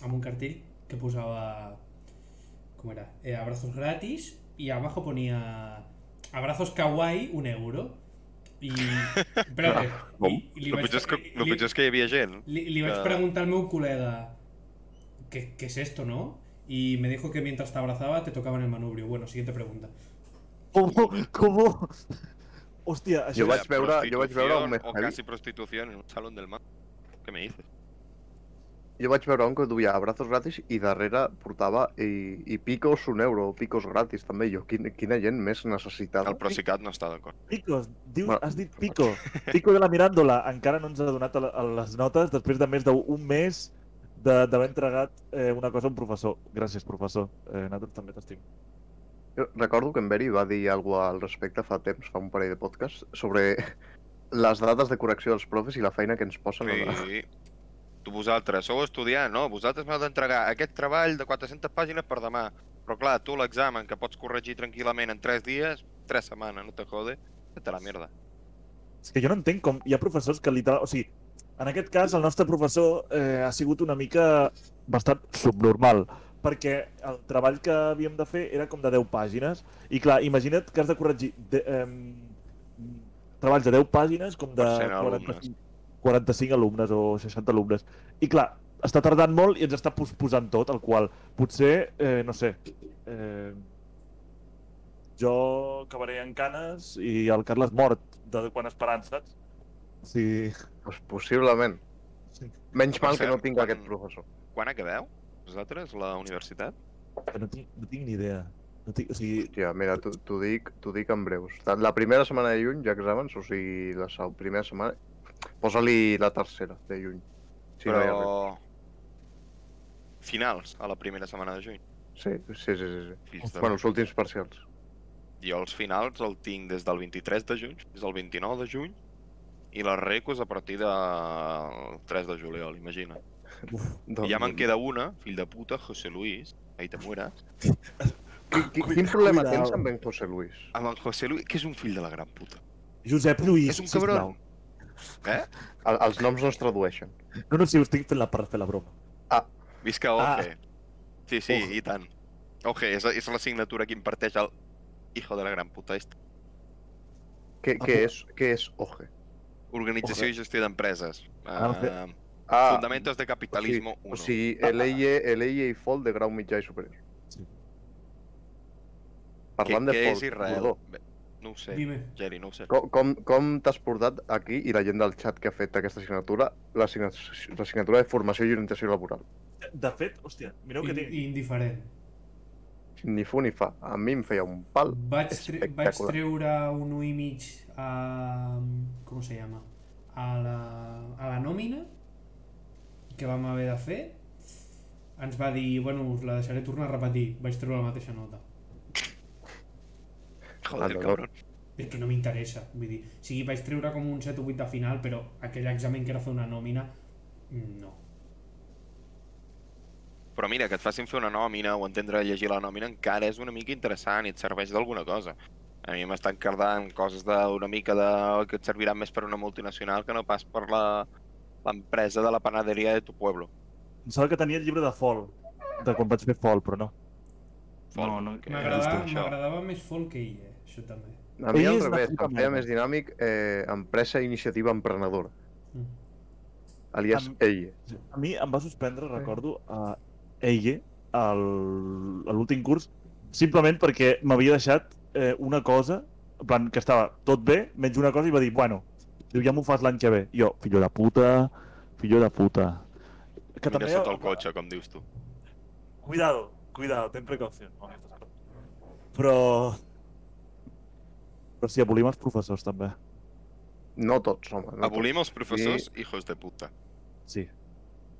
Speaker 1: amb un cartell que posava com era? Eh, abrazos gratis i abajo ponia abrazos kawaii un euro i, espérate,
Speaker 3: Com?
Speaker 1: i, i li
Speaker 2: El
Speaker 1: vaig, eh,
Speaker 2: pitjor, és que, el
Speaker 1: li-
Speaker 2: pitjor és que hi havia gent.
Speaker 1: li, li vaig
Speaker 2: Ah.
Speaker 1: preguntar al meu col·lega ¿qué, ¿qué es esto, no? Y me dijo que mientras te abrazaba te tocaban el manubrio. Bueno, siguiente pregunta.
Speaker 4: Com? Com? Hòstia, això...
Speaker 3: Jo vaig veure- jo vaig veure un
Speaker 2: O
Speaker 3: Mezcali.
Speaker 2: quasi prostitució en un salón del mar. Què me dices?
Speaker 3: Jo vaig veure un que duia abrazos gratis i darrere portava i, i picos un euro, picos gratis també. Jo, quina, quina gent més necessitada.
Speaker 2: El Procicat no està d'acord.
Speaker 4: Picos, diu,
Speaker 3: Ma-
Speaker 4: has dit Pico. Pico de la Miràndola. Encara no ens ha donat a, a les notes després de més d'un mes de- d'haver entregat eh, una cosa a un professor. Gràcies, professor. Eh, nosaltres també t'estim.
Speaker 3: Jo recordo que en Beri va dir alguna al respecte fa temps, fa un parell de podcasts, sobre les dades de correcció dels profes i la feina que ens posen. a la-
Speaker 2: Sí. Tu vosaltres sou estudiant, no? Vosaltres m'heu d'entregar aquest treball de 400 pàgines per demà. Però clar, tu l'examen que pots corregir tranquil·lament en 3 dies, 3 setmanes, no te jode, vete a la merda.
Speaker 4: És que jo no entenc com... Hi ha professors que literal... O sigui, en aquest cas, el nostre professor eh, ha sigut una mica bastant subnormal, perquè el treball que havíem de fer era com de 10 pàgines, i clar, imagina't que has de corregir de, eh, treballs de 10 pàgines com de
Speaker 2: Per cent alumnes.
Speaker 4: 45, 45 alumnes o 60 alumnes. I clar, està tardant molt i ens està posposant tot, el qual potser, eh, no sé, eh, jo acabaré en canes i el Carles mort de quan esperances. O sigui,
Speaker 3: Doncs possiblement.
Speaker 4: Sí.
Speaker 3: Menys
Speaker 2: Per
Speaker 3: mal que
Speaker 2: cert,
Speaker 3: no tinc
Speaker 2: quan-
Speaker 3: aquest professor.
Speaker 2: Quan acabeu? Vosaltres, la universitat?
Speaker 4: que no tinc, no tinc ni idea. No tinc, o sigui,
Speaker 3: Hòstia, mira, t'ho- t'ho dic, t'ho dic en breus. Tant La primera setmana de juny hi ha exàmens, o sigui, la se- primera setmana... Posa-li la tercera de juny. Si no hi ha res.
Speaker 2: però... Finals, a la primera setmana de juny.
Speaker 3: Sí, sí, sí, sí. sí.
Speaker 2: Fills de-
Speaker 3: Bueno, els últims parcials.
Speaker 2: Jo els finals el tinc des del 23 de juny fins al 29 de juny i les recos a partir del 3 de juliol, imagina. I ja
Speaker 3: Doncs,
Speaker 2: me'n queda una, fill de puta, José Luis, ahí te mueras.
Speaker 3: Qui- Quin problema
Speaker 4: Cuidao.
Speaker 3: tens amb en José Luis?
Speaker 2: Amb en José Luis, que és un fill de la gran puta.
Speaker 4: Josep Lluís,
Speaker 2: És un cabron.
Speaker 3: El, els noms no es tradueixen.
Speaker 4: No, no, si us estic fent la, per fer la broma.
Speaker 2: Visca
Speaker 4: Ah.
Speaker 2: Oje. Sí, sí,
Speaker 4: Oje.
Speaker 2: i tant. Oje, és, és la signatura que imparteix el hijo de la gran puta. Este.
Speaker 3: Què, què, és, què és OGE?
Speaker 2: Organització i gestió d'empreses.
Speaker 4: Ah,
Speaker 2: Uh,
Speaker 3: Ah,
Speaker 2: Fundamentos de capitalismo 1.
Speaker 3: o sigui, l'EIE l'EIE i Fall E de grau mitjà i superior.
Speaker 4: Sí.
Speaker 2: què,
Speaker 3: Parlant de
Speaker 2: què
Speaker 3: Fall,
Speaker 2: és Israel?
Speaker 3: Rodó,
Speaker 2: Bé, No ho sé,
Speaker 1: Dime.
Speaker 2: Geri, no ho sé.
Speaker 3: co- com, com t'has portat aquí i la gent del chat que ha fet aquesta assignatura, la assignatura, la assignatura de formació i orientació laboral?
Speaker 4: De fet, hòstia, mireu que
Speaker 1: I,
Speaker 4: tinc.
Speaker 1: i indiferent.
Speaker 3: Ni fu ni fa. A mi em feia un pal.
Speaker 1: Vaig, tre vaig
Speaker 3: Espectacular.
Speaker 1: treure un 1 i mig a... com se llama? A la, a la nòmina que vam haver de fer ens va dir, bueno, us la deixaré tornar a repetir. Vaig treure la mateixa nota.
Speaker 3: Ah,
Speaker 2: Joder,
Speaker 3: no, no.
Speaker 2: cabrón.
Speaker 1: És que no m'interessa. Vull dir, sí, vaig treure com un 7 o 8 de final, però aquell examen que era fer una nòmina, no.
Speaker 2: Però mira, que et facin fer una nòmina o entendre llegir la nòmina encara és una mica interessant i et serveix d'alguna cosa. A mi m'estan cardant coses d'una mica de... que et serviran més per una multinacional que no pas per la l'empresa de la panaderia de tu pueblo.
Speaker 4: Em sembla que tenia el llibre de Fall, de quan vaig fer Fall, però no.
Speaker 2: Fol,
Speaker 5: no,
Speaker 2: que
Speaker 1: M'agradava
Speaker 2: és això.
Speaker 1: m'agradava més folk que ell, eh? això també.
Speaker 3: A mi
Speaker 4: Ell
Speaker 3: al
Speaker 4: és una
Speaker 3: revés,
Speaker 4: puta
Speaker 3: em feia
Speaker 4: merda.
Speaker 3: més dinàmic eh, empresa i iniciativa emprenedora,
Speaker 1: Mm.
Speaker 3: alias
Speaker 4: Em-
Speaker 3: EIE.
Speaker 4: A mi em va suspendre, recordo, a Eige, al- a l'últim curs, simplement perquè m'havia deixat eh, una cosa, en plan, que estava tot bé, menys una cosa, i va dir, bueno, diu, ja m'ho fas l'any que ve. I Jo, fillo de puta, fillo de puta.
Speaker 2: Que també... sota el cotxe, com dius tu.
Speaker 4: Cuidado, cuidado, ten precaució. amb aquestes coses. Però... Però sí, abolim els professors, també.
Speaker 3: No tots, home. No
Speaker 2: Abolim els professors, hijos de puta.
Speaker 4: Sí.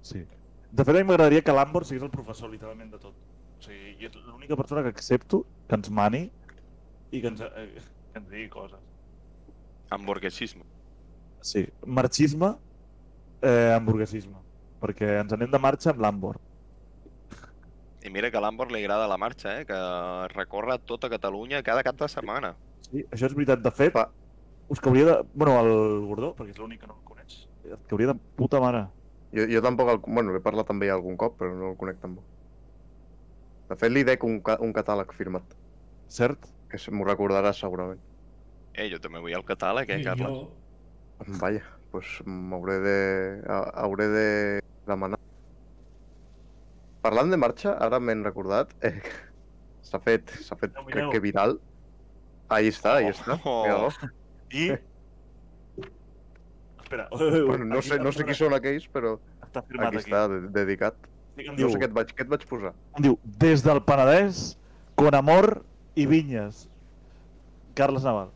Speaker 4: Sí. De fet, a mi m'agradaria que l'Ambor sigués el professor, literalment, de tot. O sigui, i és l'única persona que accepto que ens mani i que ens... Eh,
Speaker 5: ens digui coses.
Speaker 2: Hamburguesisme.
Speaker 4: Sí, marxisme, eh, hamburguesisme. Perquè ens anem de marxa amb l'Ambor.
Speaker 2: I mira que a l'Ambor li agrada la marxa, eh? Que recorre tota Catalunya cada cap de setmana.
Speaker 4: Sí, això és veritat. De fet,
Speaker 3: Va.
Speaker 4: us cauria de... Bueno, el Gordó, perquè
Speaker 5: És l'únic que no el coneix.
Speaker 4: et cauria de puta mare.
Speaker 3: Jo, jo tampoc el... Bueno, l'he parlat també ja algun cop, però no el conec tampoc. De fet, li dec un, ca un catàleg firmat,
Speaker 4: Cert?
Speaker 3: que se- m'ho recordarà segurament.
Speaker 2: Eh, jo també vull el catàleg, eh,
Speaker 1: I
Speaker 2: Carles?
Speaker 1: jo-
Speaker 3: Vaja, doncs m'hauré de... ha- hauré de demanar. Parlant de marxa, ara m'he recordat, eh, s'ha fet, s'ha fet,
Speaker 5: Mireu, mireu.
Speaker 3: crec que viral. Ahí està, ahí
Speaker 2: Oh.
Speaker 3: està.
Speaker 2: Oh.
Speaker 3: Mira-lo.
Speaker 5: I... Espera.
Speaker 4: Pues,
Speaker 3: Bueno, no, sé, no sé qui són aquells, però
Speaker 5: Està firmat
Speaker 3: aquí
Speaker 5: aquí.
Speaker 3: està, de dedicat.
Speaker 5: Estic en
Speaker 3: No
Speaker 5: diu, Doncs
Speaker 3: sé què et vaig, què et vaig posar.
Speaker 4: Em diu, des del Penedès, con amor i vinyes. Carles Naval.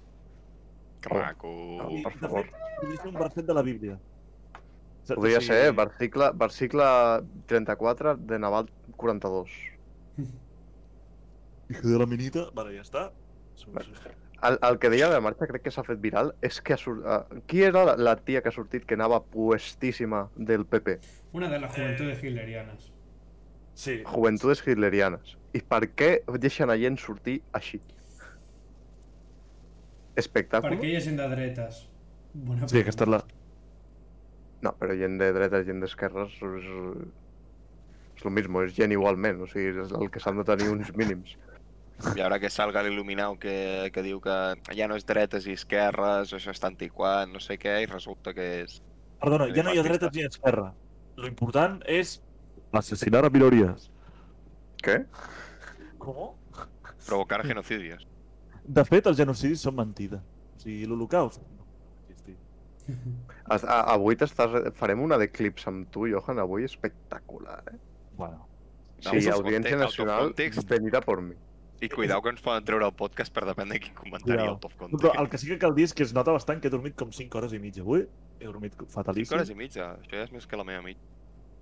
Speaker 2: Que maco.
Speaker 3: Oh. per
Speaker 4: I,
Speaker 3: favor.
Speaker 4: De fet, podria ser un verset de la Bíblia. Saps?
Speaker 3: Podria
Speaker 4: O sigui,
Speaker 3: ser, eh? Versicle, versicle 34 de Naval 42.
Speaker 4: Hijo de la minita.
Speaker 5: Vale, ja està. Solució.
Speaker 3: El, el que deia de la marxa, crec que s'ha fet viral, és que ha sort... eh, qui era la, la tia que ha sortit que anava puestíssima del PP?
Speaker 1: Una de las juventudes hitlerianas.
Speaker 5: Sí.
Speaker 3: Juventudes hitlerianes. I per què deixen a gent sortir així? Espectacle?
Speaker 1: Perquè ella és gent de dretes. Bona
Speaker 4: Sí, aquesta és la...
Speaker 3: No, però gent de dreta, gent d'esquerres, és... És lo mismo, és gent igualment, o sigui, és el que s'han de tenir uns mínims.
Speaker 2: I ara que salga l'il·luminau que, que diu que ja no és dretes i esquerres, això està antiquat, no sé què, i resulta que és...
Speaker 4: Perdona,
Speaker 2: Sí,
Speaker 4: ja no hi ha
Speaker 2: marxista.
Speaker 4: dreta ni esquerra.
Speaker 5: Lo important és...
Speaker 4: Assassinar a minories.
Speaker 3: Què?
Speaker 5: Com?
Speaker 2: provocar genocidios.
Speaker 4: De fet, els genocidis són mentida. O sigui, l'Holocaust no va existir.
Speaker 3: Has- a- Avui t'estàs... Farem una de clips amb tu, Johan, avui espectacular, eh?
Speaker 4: Bueno,
Speaker 3: Sí, Audiència Nacional,
Speaker 2: Autocontext,
Speaker 3: venid a por mi.
Speaker 2: I cuidao que ens poden treure el podcast per depèn de quin comentari
Speaker 4: Cuidao.
Speaker 2: out of
Speaker 4: però el
Speaker 2: context.
Speaker 4: que sí que cal dir és que es nota bastant que he dormit com 5 hores i mitja avui. He dormit
Speaker 2: Cinc
Speaker 4: fatalíssim.
Speaker 2: hores i mitja, això ja és més que la meva mitja.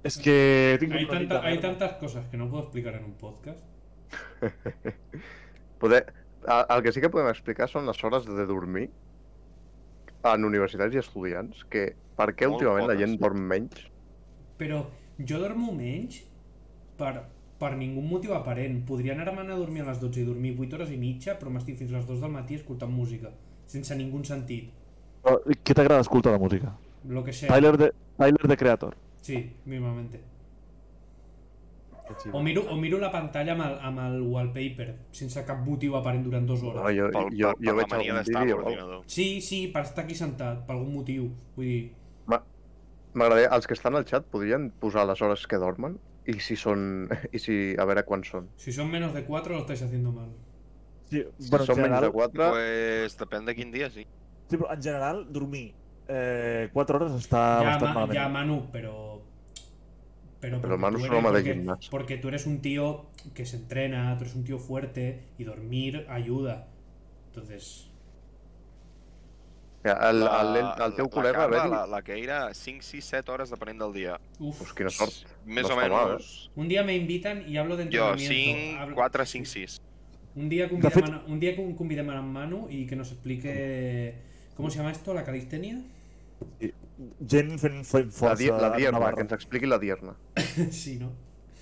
Speaker 4: És que tinc
Speaker 1: Hay,
Speaker 4: una mica
Speaker 1: tanta-
Speaker 4: de
Speaker 1: hay
Speaker 4: merda.
Speaker 1: tantas cosas que no puedo explicar en un podcast.
Speaker 3: Poder... El, el que sí que podem explicar són les hores de dormir en universitats i estudiants, que per què
Speaker 2: Molt
Speaker 3: últimament la
Speaker 2: poques.
Speaker 3: gent dorm menys?
Speaker 1: Però jo dormo menys per, per ningú motiu aparent. Podria anar-me a dormir a les 12 i dormir 8 hores i mitja, però m'estic fins a les 2 del matí escoltant música, sense ningú sentit.
Speaker 4: Però Què t'agrada escoltar la música?
Speaker 1: Lo que sea.
Speaker 4: Tyler de, Tyler de Creator.
Speaker 1: Sí, mismamente.
Speaker 4: Que xiva.
Speaker 1: O miro, o miro la pantalla amb el, amb el wallpaper, sense cap motiu aparent durant dues hores.
Speaker 3: No, jo,
Speaker 2: Pel, pel,
Speaker 3: jo, jo
Speaker 2: per la
Speaker 3: veig
Speaker 2: mania
Speaker 3: algun
Speaker 2: d'estar a
Speaker 3: vídeo... oh,
Speaker 2: l'ordinador.
Speaker 1: Sí, sí, per estar aquí sentat, per algun motiu. Vull dir,
Speaker 3: M'agradaria... Els que estan al xat podrien posar les hores que dormen? I si són... I si... A veure quan són.
Speaker 1: si són menos de 4 lo estáis haciendo mal.
Speaker 4: Sí,
Speaker 3: Si
Speaker 4: bueno, en
Speaker 3: són menys
Speaker 4: general,
Speaker 3: de 4...
Speaker 2: Pues depèn de quin dia, sí.
Speaker 4: sí, però en general, dormir eh, 4 hores està
Speaker 3: Ah,
Speaker 1: ya,
Speaker 4: bastant
Speaker 1: Ma-
Speaker 4: malament.
Speaker 1: ya Manu, pero... Pero,
Speaker 3: Pero
Speaker 1: porque tú
Speaker 3: Manu es un
Speaker 1: eres-
Speaker 3: hombre de
Speaker 1: porque-
Speaker 3: gimnasio.
Speaker 1: Porque tú eres un tío que se entrena, tú eres un tío fuerte y dormir ayuda. Entonces,
Speaker 3: El, el, el, el teu
Speaker 2: la
Speaker 3: col·lega...
Speaker 2: Carla,
Speaker 3: a
Speaker 2: la,
Speaker 3: veure,
Speaker 2: la Keira, 5, 6, 7 hores depenent del dia.
Speaker 1: uff.
Speaker 3: Pues quina sort.
Speaker 2: Més
Speaker 3: no
Speaker 2: o
Speaker 3: està mal,
Speaker 2: menys.
Speaker 1: Un día me invitan y hablo de
Speaker 2: Jo,
Speaker 1: entrenamiento.
Speaker 2: 5,
Speaker 1: Hablo-
Speaker 2: 4, 5, 6.
Speaker 1: Un día convidem,
Speaker 4: fet-
Speaker 1: a- un día que un convidem a Manu y que nos explique... ¿Cómo se llama esto? ¿La calistenia?
Speaker 4: Gent fent, fent
Speaker 3: La,
Speaker 4: força
Speaker 3: di la
Speaker 4: en una
Speaker 3: dierna,
Speaker 4: barra.
Speaker 3: que ens expliqui la dierna.
Speaker 1: sí, ¿no?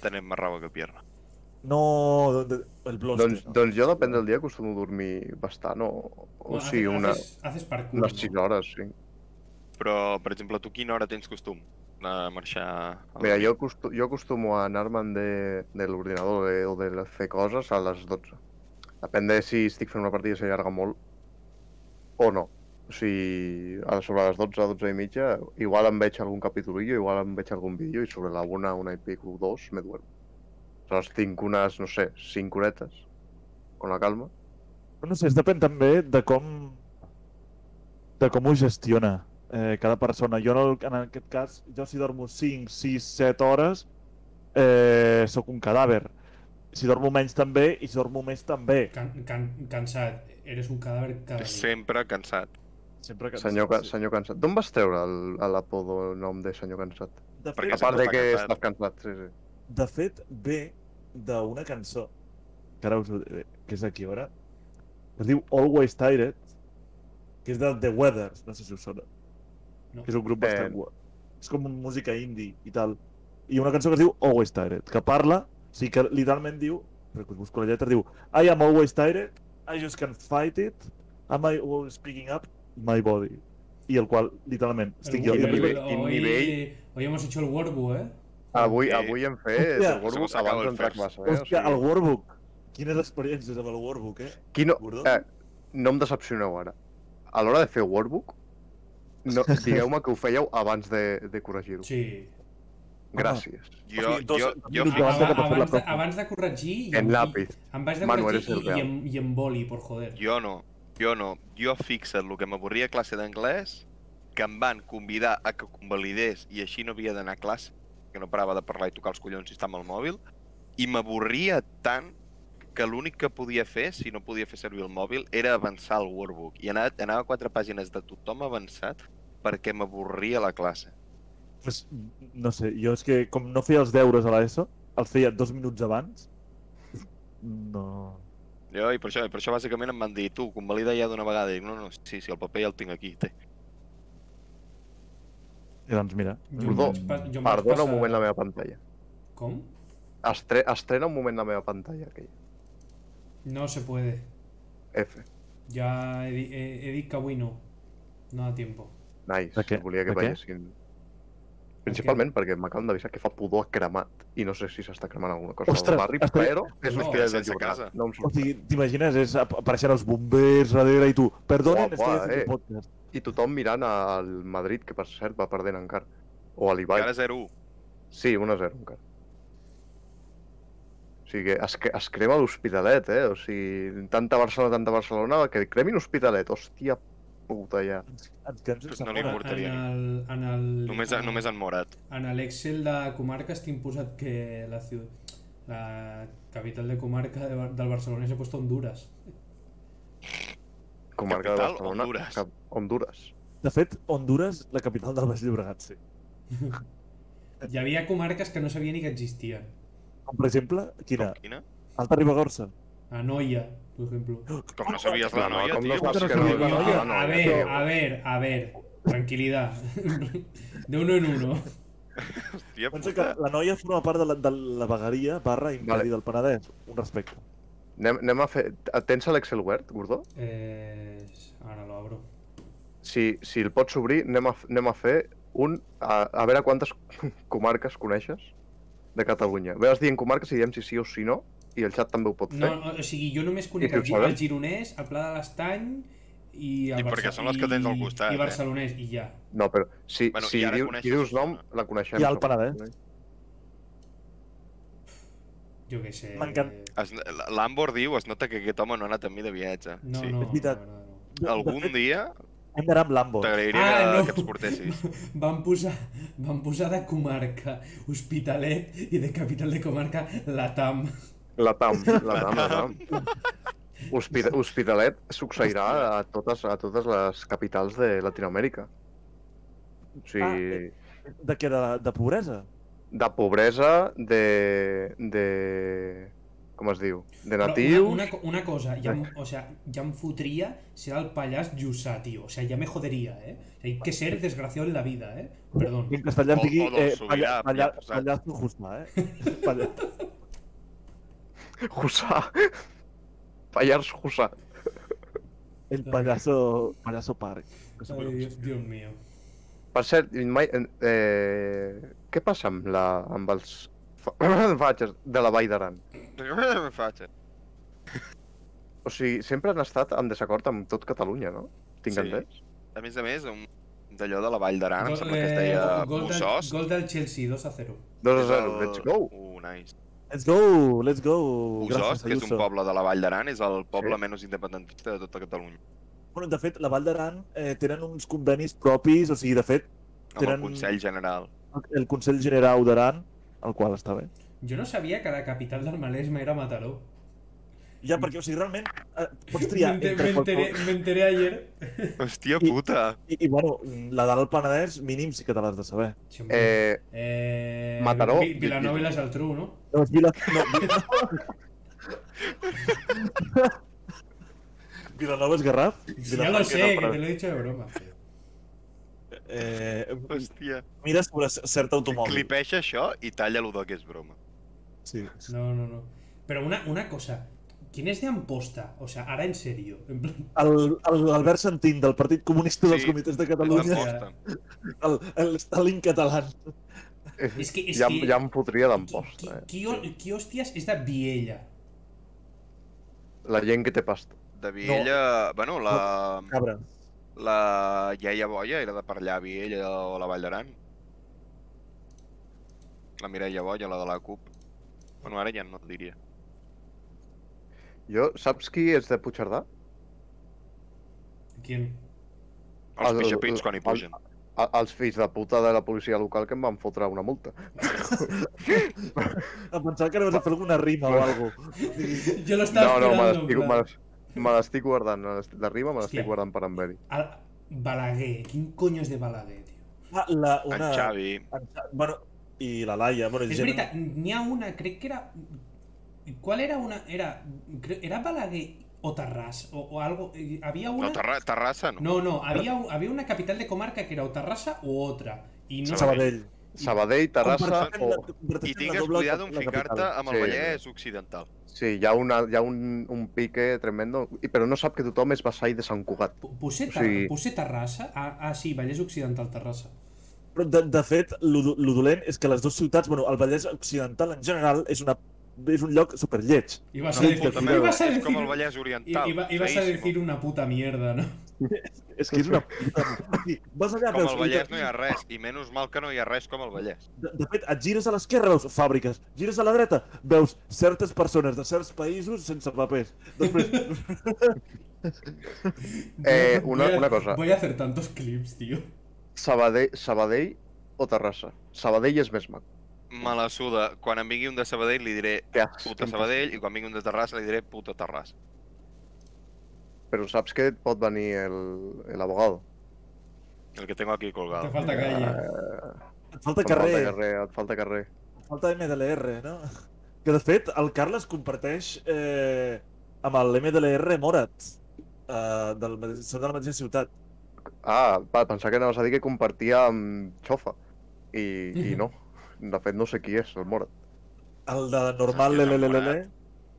Speaker 2: Tenem més rabo que pierna.
Speaker 4: No, de, de, el blog.
Speaker 3: Doncs, doncs jo depèn del dia acostumo a dormir bastant, o, o
Speaker 1: Bueno,
Speaker 3: sigui,
Speaker 1: haces-
Speaker 3: Oh, una,
Speaker 1: Haces, haces parkour.
Speaker 3: unes
Speaker 1: ¿no?
Speaker 3: 6 hores, sí.
Speaker 2: Però, per exemple, tu quina hora tens costum de marxar? a
Speaker 3: Mira,
Speaker 2: dormir?
Speaker 3: jo, acostu jo acostumo a anar-me'n de, de l'ordinador de, o de la- fer coses a les 12. Depèn de si estic fent una partida que s'allarga molt o no. O sigui, a sobre les 12, 12 i mitja, igual em veig algun capitulillo, igual em veig algun vídeo i sobre la 1, 1 i pico, 2, me duermo. Aleshores tinc unes, no sé, 5 horetes, con la calma.
Speaker 4: No sé, es depèn també de com de com ho gestiona eh, cada persona. Jo, en, el, en aquest cas, jo si dormo 5, 6, 7 hores, eh, sóc un cadàver. Si dormo menys també, i si dormo més també.
Speaker 1: Can- can- cansad, eres un cadáver cada día.
Speaker 2: Sempre cansat.
Speaker 4: Sempre que...
Speaker 3: Senyor, Ca- senyor Cansat. D'on vas treure el- a l'apodo el nom de Senyor Cansat?
Speaker 4: De
Speaker 2: perquè
Speaker 3: A
Speaker 4: fet,
Speaker 3: part de
Speaker 2: està
Speaker 3: que
Speaker 2: cansat.
Speaker 3: estàs cansat, sí, sí.
Speaker 4: de fet ve d'una cançó, que ara us ho diré, que és aquí, a veure, que es diu Always Tired, que és del The Weathers, no sé si us sona.
Speaker 1: No.
Speaker 4: Que és un grup
Speaker 3: Eh.
Speaker 4: bastant guap. És com música indie i tal. I una cançó que es diu Always Tired, que parla, o sigui que literalment diu, perquè us busco la lletra, diu I am always tired, I just can't fight it, am I always picking up my body. I el qual, literalment, estic jo.
Speaker 1: Hoy-
Speaker 3: i nivell-
Speaker 1: hoy-
Speaker 3: i nivell-
Speaker 1: Hoy hemos hecho el Warbu, eh?
Speaker 3: Ah, Avui,
Speaker 2: Eh,
Speaker 3: avui hem fet
Speaker 4: hòstia,
Speaker 3: el Gorbo
Speaker 2: se m'acaba
Speaker 3: abans
Speaker 2: el
Speaker 3: d'entrar a
Speaker 2: first.
Speaker 3: classe. Eh? O
Speaker 4: Hòstia, el
Speaker 3: sigui,
Speaker 4: Warbook. Quines experiències amb el Warbook, eh?
Speaker 3: qui no,
Speaker 4: Gordó?
Speaker 3: eh, no em decepcioneu ara. A l'hora de fer workbook, no, digueu-me que ho fèieu abans de, de corregir-ho.
Speaker 1: Sí.
Speaker 3: Gràcies.
Speaker 2: Jo,
Speaker 4: Hòstia, dos-
Speaker 2: jo,
Speaker 4: dos
Speaker 2: jo,
Speaker 4: minuts
Speaker 2: jo,
Speaker 4: abans de que passés la
Speaker 1: abans, de,
Speaker 4: prova.
Speaker 1: abans de corregir... i
Speaker 3: En
Speaker 1: amb-
Speaker 3: lápiz.
Speaker 1: i- Em vaig de
Speaker 3: Manu,
Speaker 1: corregir
Speaker 3: eres
Speaker 1: i,
Speaker 3: el
Speaker 1: i,
Speaker 3: real.
Speaker 1: amb, i amb boli, por joder.
Speaker 2: jo no, jo no. Jo fixa't el que m'avorria a classe d'anglès, que em van convidar a que convalidés i així no havia d'anar a classe, que no parava de parlar i tocar els collons i estar amb el mòbil, i m'avorria tant que l'únic que podia fer, si no podia fer servir el mòbil, era avançar el workbook. I anava, anava a quatre pàgines de tothom avançat perquè m'avorria la classe.
Speaker 4: Pues, no sé, jo és que com no feia els deures a l'ESO, els feia dos minuts abans, no...
Speaker 2: Jo, i per això, i per això bàsicament em van dir, tu, convalida ja d'una vegada. I dic, no, no, sí, sí, el paper ja el tinc aquí, té.
Speaker 4: I doncs mira,
Speaker 1: Jo em
Speaker 3: Gordó,
Speaker 1: vaig pas- jo em vaig
Speaker 3: Perdona
Speaker 1: passar-
Speaker 3: un moment la meva pantalla.
Speaker 1: Com?
Speaker 3: Estre estrena un moment la meva pantalla, aquella.
Speaker 1: No se puede.
Speaker 3: F.
Speaker 1: Ya he, di- he, he dicho que avui no. No da tiempo.
Speaker 3: Nice.
Speaker 4: De què?
Speaker 3: Volia que
Speaker 4: De què?
Speaker 3: veiessin. Principalment perquè m'acaben d'avisar que fa pudor a cremat i no sé si s'està cremant alguna cosa
Speaker 4: Ostres,
Speaker 3: al barri,
Speaker 4: estaré-
Speaker 3: però és
Speaker 1: No,
Speaker 3: l'hospital de
Speaker 2: sense casa.
Speaker 3: Llobregat. No em
Speaker 4: o
Speaker 3: surt.
Speaker 4: sigui, t'imagines, és ap- apareixen els bombers darrere i tu, perdonen,
Speaker 3: Guapa,
Speaker 4: estic fent
Speaker 3: eh?
Speaker 4: un podcast.
Speaker 3: I tothom mirant al Madrid, que per cert va perdent encara. O a l'Ibai.
Speaker 2: Ara 0-1.
Speaker 3: Sí, 1 a 0 encara. O sigui, que es, cre- es crema l'Hospitalet, eh? O sigui, tanta Barcelona, tanta Barcelona, que cremin Hospitalet, hòstia puta, ja.
Speaker 4: Ens, ens quedem sense
Speaker 2: No li
Speaker 4: fora.
Speaker 2: importa. Portaria.
Speaker 1: En el, en el,
Speaker 2: Només,
Speaker 1: en,
Speaker 2: només han morat.
Speaker 1: en el Excel de comarcas tinc posat que la, ciu- la capital de comarca de, Bar- del Barcelona s'ha puesto Honduras.
Speaker 3: Comarca
Speaker 2: Capital,
Speaker 3: de Barcelona.
Speaker 2: Honduras.
Speaker 3: Cap, Honduras.
Speaker 4: De fet, Honduras, la capital del Baix Llobregat, sí.
Speaker 1: Hi havia comarques que no sabia ni que existien.
Speaker 4: Com per exemple, quina?
Speaker 2: Com quina?
Speaker 4: Alta Ribagorça.
Speaker 1: Anoia, por ejemplo.
Speaker 2: Com no sabies la
Speaker 3: No, no,
Speaker 2: noia,
Speaker 3: com no
Speaker 2: tio?
Speaker 3: saps
Speaker 2: Saps
Speaker 3: que no-
Speaker 2: que no,
Speaker 3: no-
Speaker 2: no,
Speaker 3: no-
Speaker 1: a
Speaker 3: ja
Speaker 1: ver,
Speaker 3: veu.
Speaker 1: a ver, a ver. Tranquilidad. De uno en uno.
Speaker 2: hòstia
Speaker 4: Pensa que
Speaker 2: puta.
Speaker 4: la noia forma part de la, de la vegueria barra
Speaker 3: Vale.
Speaker 4: imperi del Penedès. Un respecte.
Speaker 3: Anem, anem a fer... Tens l'Excel obert, Gordó?
Speaker 1: Eh, ahora lo abro.
Speaker 3: Si, si el pots obrir, anem a, f- anem a fer un... A, a veure quantes comarques coneixes de Catalunya. Ves dient comarques i diem si sí o si no, i el xat també ho pot fer.
Speaker 1: No, no, o sigui, jo només conec
Speaker 3: I
Speaker 1: el,
Speaker 3: tu
Speaker 1: Gi-
Speaker 3: sabes?
Speaker 1: el gironès, el Pla de l'Estany i el
Speaker 2: I perquè són les que tens al costat,
Speaker 1: I,
Speaker 2: eh?
Speaker 1: i barcelonès, i ja.
Speaker 3: No, però si,
Speaker 2: Bueno,
Speaker 3: bueno, si,
Speaker 2: i ara
Speaker 3: diu, si
Speaker 2: coneixes
Speaker 3: dius nom,
Speaker 2: Osona.
Speaker 3: la coneixem.
Speaker 4: I el
Speaker 3: segurament.
Speaker 1: Jo què sé.
Speaker 4: M'encanta.
Speaker 2: Es- L'Ambor diu, es nota que aquest home no ha anat amb mi de viatge.
Speaker 1: No,
Speaker 2: sí.
Speaker 1: no,
Speaker 4: És veritat.
Speaker 1: la veritat no.
Speaker 4: De- de
Speaker 2: Algun
Speaker 4: fet, Ah,
Speaker 2: dia
Speaker 4: Hem d'anar amb l'Ambo.
Speaker 2: t'agrairia
Speaker 1: Ah,
Speaker 2: que,
Speaker 1: no.
Speaker 2: que ens portessis.
Speaker 1: Van posar, van posar de comarca Hospitalet i de capital de comarca Latam.
Speaker 3: La TAM, la TAM, la TAM. Hospita Hospitalet succeirà a totes, a totes les capitals de Latinoamèrica. O sigui,
Speaker 4: De què? De, de pobresa?
Speaker 3: de pobresa, de... de... com es diu? De
Speaker 1: Però
Speaker 3: natiu...
Speaker 1: Una, una, co- una cosa, ja, em- o sea, ja em fotria ser el Pallars Jussà, tio. O sea, ja me joderia, eh? O sea, hay que ser desgraciado en la vida, eh? Perdón.
Speaker 4: Que en castellà
Speaker 2: O-
Speaker 4: em digui
Speaker 2: o del
Speaker 4: eh,
Speaker 2: Sobirà, ja
Speaker 4: palla, palla,
Speaker 2: posat.
Speaker 4: pallasso justa, eh? Palla...
Speaker 3: Jussà. Pallars Jussà.
Speaker 4: El pallasso, pallasso parc. Que
Speaker 1: Ay, Dios, Dios mío.
Speaker 3: Per cert, mai, eh, què passa amb, la, amb els fa- fatxes de la Vall d'Aran?
Speaker 2: Faig.
Speaker 3: O sigui, sempre han estat en desacord amb tot Catalunya, no? Tinc
Speaker 2: Sí.
Speaker 3: sí. entès?
Speaker 2: A més a més, un d'allò de la Vall d'Aran, em
Speaker 1: Gol-
Speaker 2: sembla que es
Speaker 1: eh,
Speaker 2: deia
Speaker 1: gol del-
Speaker 2: Bussós.
Speaker 1: Gol del Chelsea, 2 a 0.
Speaker 3: 2 a
Speaker 2: és
Speaker 3: 0,
Speaker 2: el-
Speaker 3: let's go!
Speaker 2: Uh, nice.
Speaker 4: Let's go, let's go.
Speaker 2: Bussós, que és un
Speaker 4: Ayuso.
Speaker 2: poble de la Vall d'Aran, és el poble menys independentista de tota Catalunya.
Speaker 4: Bueno, de fet, la Vall d'Aran eh, tenen uns convenis propis, o sigui, de fet,
Speaker 2: Amb el
Speaker 4: Tenen-
Speaker 2: Consell General.
Speaker 4: el Consell General d'Aran, el qual està bé.
Speaker 1: Yo no sabía que la capital del Maresme era Mataró.
Speaker 4: Ja, perquè, o sigui, realment, eh, pots
Speaker 1: Me,
Speaker 4: triar
Speaker 1: enter-
Speaker 4: entre
Speaker 1: me enteré,
Speaker 4: qualsevol...
Speaker 1: me enteré ayer.
Speaker 2: Hòstia
Speaker 4: I-
Speaker 2: puta!
Speaker 4: I, I, bueno, la del Penedès, mínim sí que te l'has de saber.
Speaker 1: Siempre.
Speaker 3: Eh,
Speaker 1: Eh,
Speaker 3: Mataró.
Speaker 1: Vi- Vilanova y la Geltrú, ¿no?
Speaker 4: No, és Vila... No, Vila... Vilanova és Garraf?
Speaker 1: Ya lo sé, que te lo he dicho de broma.
Speaker 4: Eh,
Speaker 2: Hòstia.
Speaker 4: mira sobre c- cert automòbil.
Speaker 2: Clipeja això i talla el que és broma.
Speaker 4: Sí.
Speaker 1: No, no, no. Pero una, una cosa. ¿Quién es de Amposta? O sea, ahora en serio. En plan,
Speaker 4: El- el- L'Albert Santín, del Partit Comunista dels
Speaker 2: Sí.
Speaker 4: Comitès de
Speaker 2: És
Speaker 4: Catalunya,
Speaker 2: d'amposta.
Speaker 4: el, el Stalin català.
Speaker 1: es que. Es
Speaker 3: Ja,
Speaker 1: que-
Speaker 3: ja em fotria
Speaker 1: qui-
Speaker 3: d'amposta, eh?
Speaker 1: qui- qui ho- qui hostias es de Biella?
Speaker 3: La gent que té pasta.
Speaker 2: De Viella... Bueno, la,
Speaker 4: Cabra.
Speaker 2: la iaia boia era de per allà, Viella o la Vall d'Aran. La Mireia Boia, la de la CUP. Bueno, ara ja no et diria.
Speaker 3: Jo, saps qui és de Puigcerdà?
Speaker 1: ¿Quién?
Speaker 2: Els
Speaker 3: El-
Speaker 2: pixapins
Speaker 3: el-
Speaker 2: quan hi
Speaker 3: el-
Speaker 2: pugen.
Speaker 3: A, els fills de puta de la policia local que em van fotre una multa.
Speaker 4: Em pensava que anaves a fer alguna rima o alguna cosa.
Speaker 1: Yo lo estaba
Speaker 3: No, no, me
Speaker 1: esperando. en
Speaker 3: l'estic
Speaker 1: plan,
Speaker 3: me les- me l'estic guardant. me l'estic- La rima me l'estic
Speaker 1: Hòstia.
Speaker 3: guardant per en Beri.
Speaker 1: al- Balaguer. ¿Quién coño es de Balaguer, tío?
Speaker 4: Ah, la,
Speaker 2: En
Speaker 4: una...
Speaker 2: Xavi.
Speaker 4: en Xa- Bueno, i la Laia. Bueno,
Speaker 1: Es verdad, ni a una, creo que era... ¿Cuál era una? Era, creo- era Balaguer o Tarrás o, o algo. eh, Había una...
Speaker 2: No, Terra Terrassa no.
Speaker 1: No, no, había, un- había una capital de comarca que era o Tarrasa u otra. Y no
Speaker 4: Sabadell.
Speaker 3: Sabadell, Terrassa
Speaker 4: Comparteixen
Speaker 3: o...
Speaker 4: la- comparteixen
Speaker 2: I
Speaker 4: la
Speaker 2: tingues
Speaker 4: doble
Speaker 2: cuidado en
Speaker 4: la capital.
Speaker 2: ficar-te amb el
Speaker 3: Sí.
Speaker 2: Vallès Occidental.
Speaker 3: Sí, hi ha, una, hi ha un, un pique tremendo, i- però no sap que tothom és vassall de Sant Cugat.
Speaker 1: Pu- Posé,
Speaker 3: O
Speaker 1: Tar-
Speaker 3: sigui-
Speaker 1: posé Terrassa? Ah, ah, sí, Vallès Occidental, Terrassa.
Speaker 4: Però de, de fet, lo, do- lo dolent és que les dues ciutats, bueno, el Vallès Occidental en general és, una, és un lloc superlleig.
Speaker 1: Y vas a
Speaker 4: Sí,
Speaker 1: decir,
Speaker 4: puta
Speaker 1: y
Speaker 4: merda,
Speaker 1: vas a
Speaker 2: és
Speaker 1: decir,
Speaker 2: com el Vallès
Speaker 1: y-
Speaker 2: Oriental.
Speaker 1: y va- y vas a
Speaker 2: feíssimo.
Speaker 1: decir una puta mierda, ¿no?
Speaker 4: És que és una... puta- Sí, Vas allà,
Speaker 2: Com al
Speaker 4: veus,
Speaker 2: Vallès no hi ha res, i menys mal que no hi ha res com al Vallès.
Speaker 4: de, de fet, et gires a l'esquerra, veus fàbriques, gires a la dreta, veus certes persones de certs països sense papers. Després,
Speaker 3: Eh,
Speaker 1: Voy a-
Speaker 3: una,
Speaker 1: voy a-
Speaker 3: una cosa,
Speaker 1: Voy a hacer tantos clips, tío.
Speaker 3: Sabadell, Sabadell o Terrassa? Sabadell és més mac.
Speaker 2: Me la suda. Quan em vingui un de Sabadell li diré
Speaker 3: Ja,
Speaker 2: puta Sabadell i quan vingui un de Terrassa li diré puta Terrassa.
Speaker 3: Però saps que et pot venir el- l'abogado.
Speaker 2: El que tengo aquí
Speaker 1: Te
Speaker 2: colgado.
Speaker 1: falta
Speaker 2: ah,
Speaker 1: calle.
Speaker 4: et falta
Speaker 3: Et
Speaker 4: carrer,
Speaker 3: Eh, Falta carrer, et falta carrer.
Speaker 4: et falta MDLR, no? Que de fet, el Carles comparteix eh, amb el MDLR Morat, eh, del, mate- són de la mateixa ciutat.
Speaker 3: Ah, va, pensar que anaves a dir que compartia amb Xofa. I, i no. De fet, no sé qui és, el Morat.
Speaker 4: El de normal,
Speaker 2: Saps qui és el
Speaker 4: lelelelele.
Speaker 2: Morat?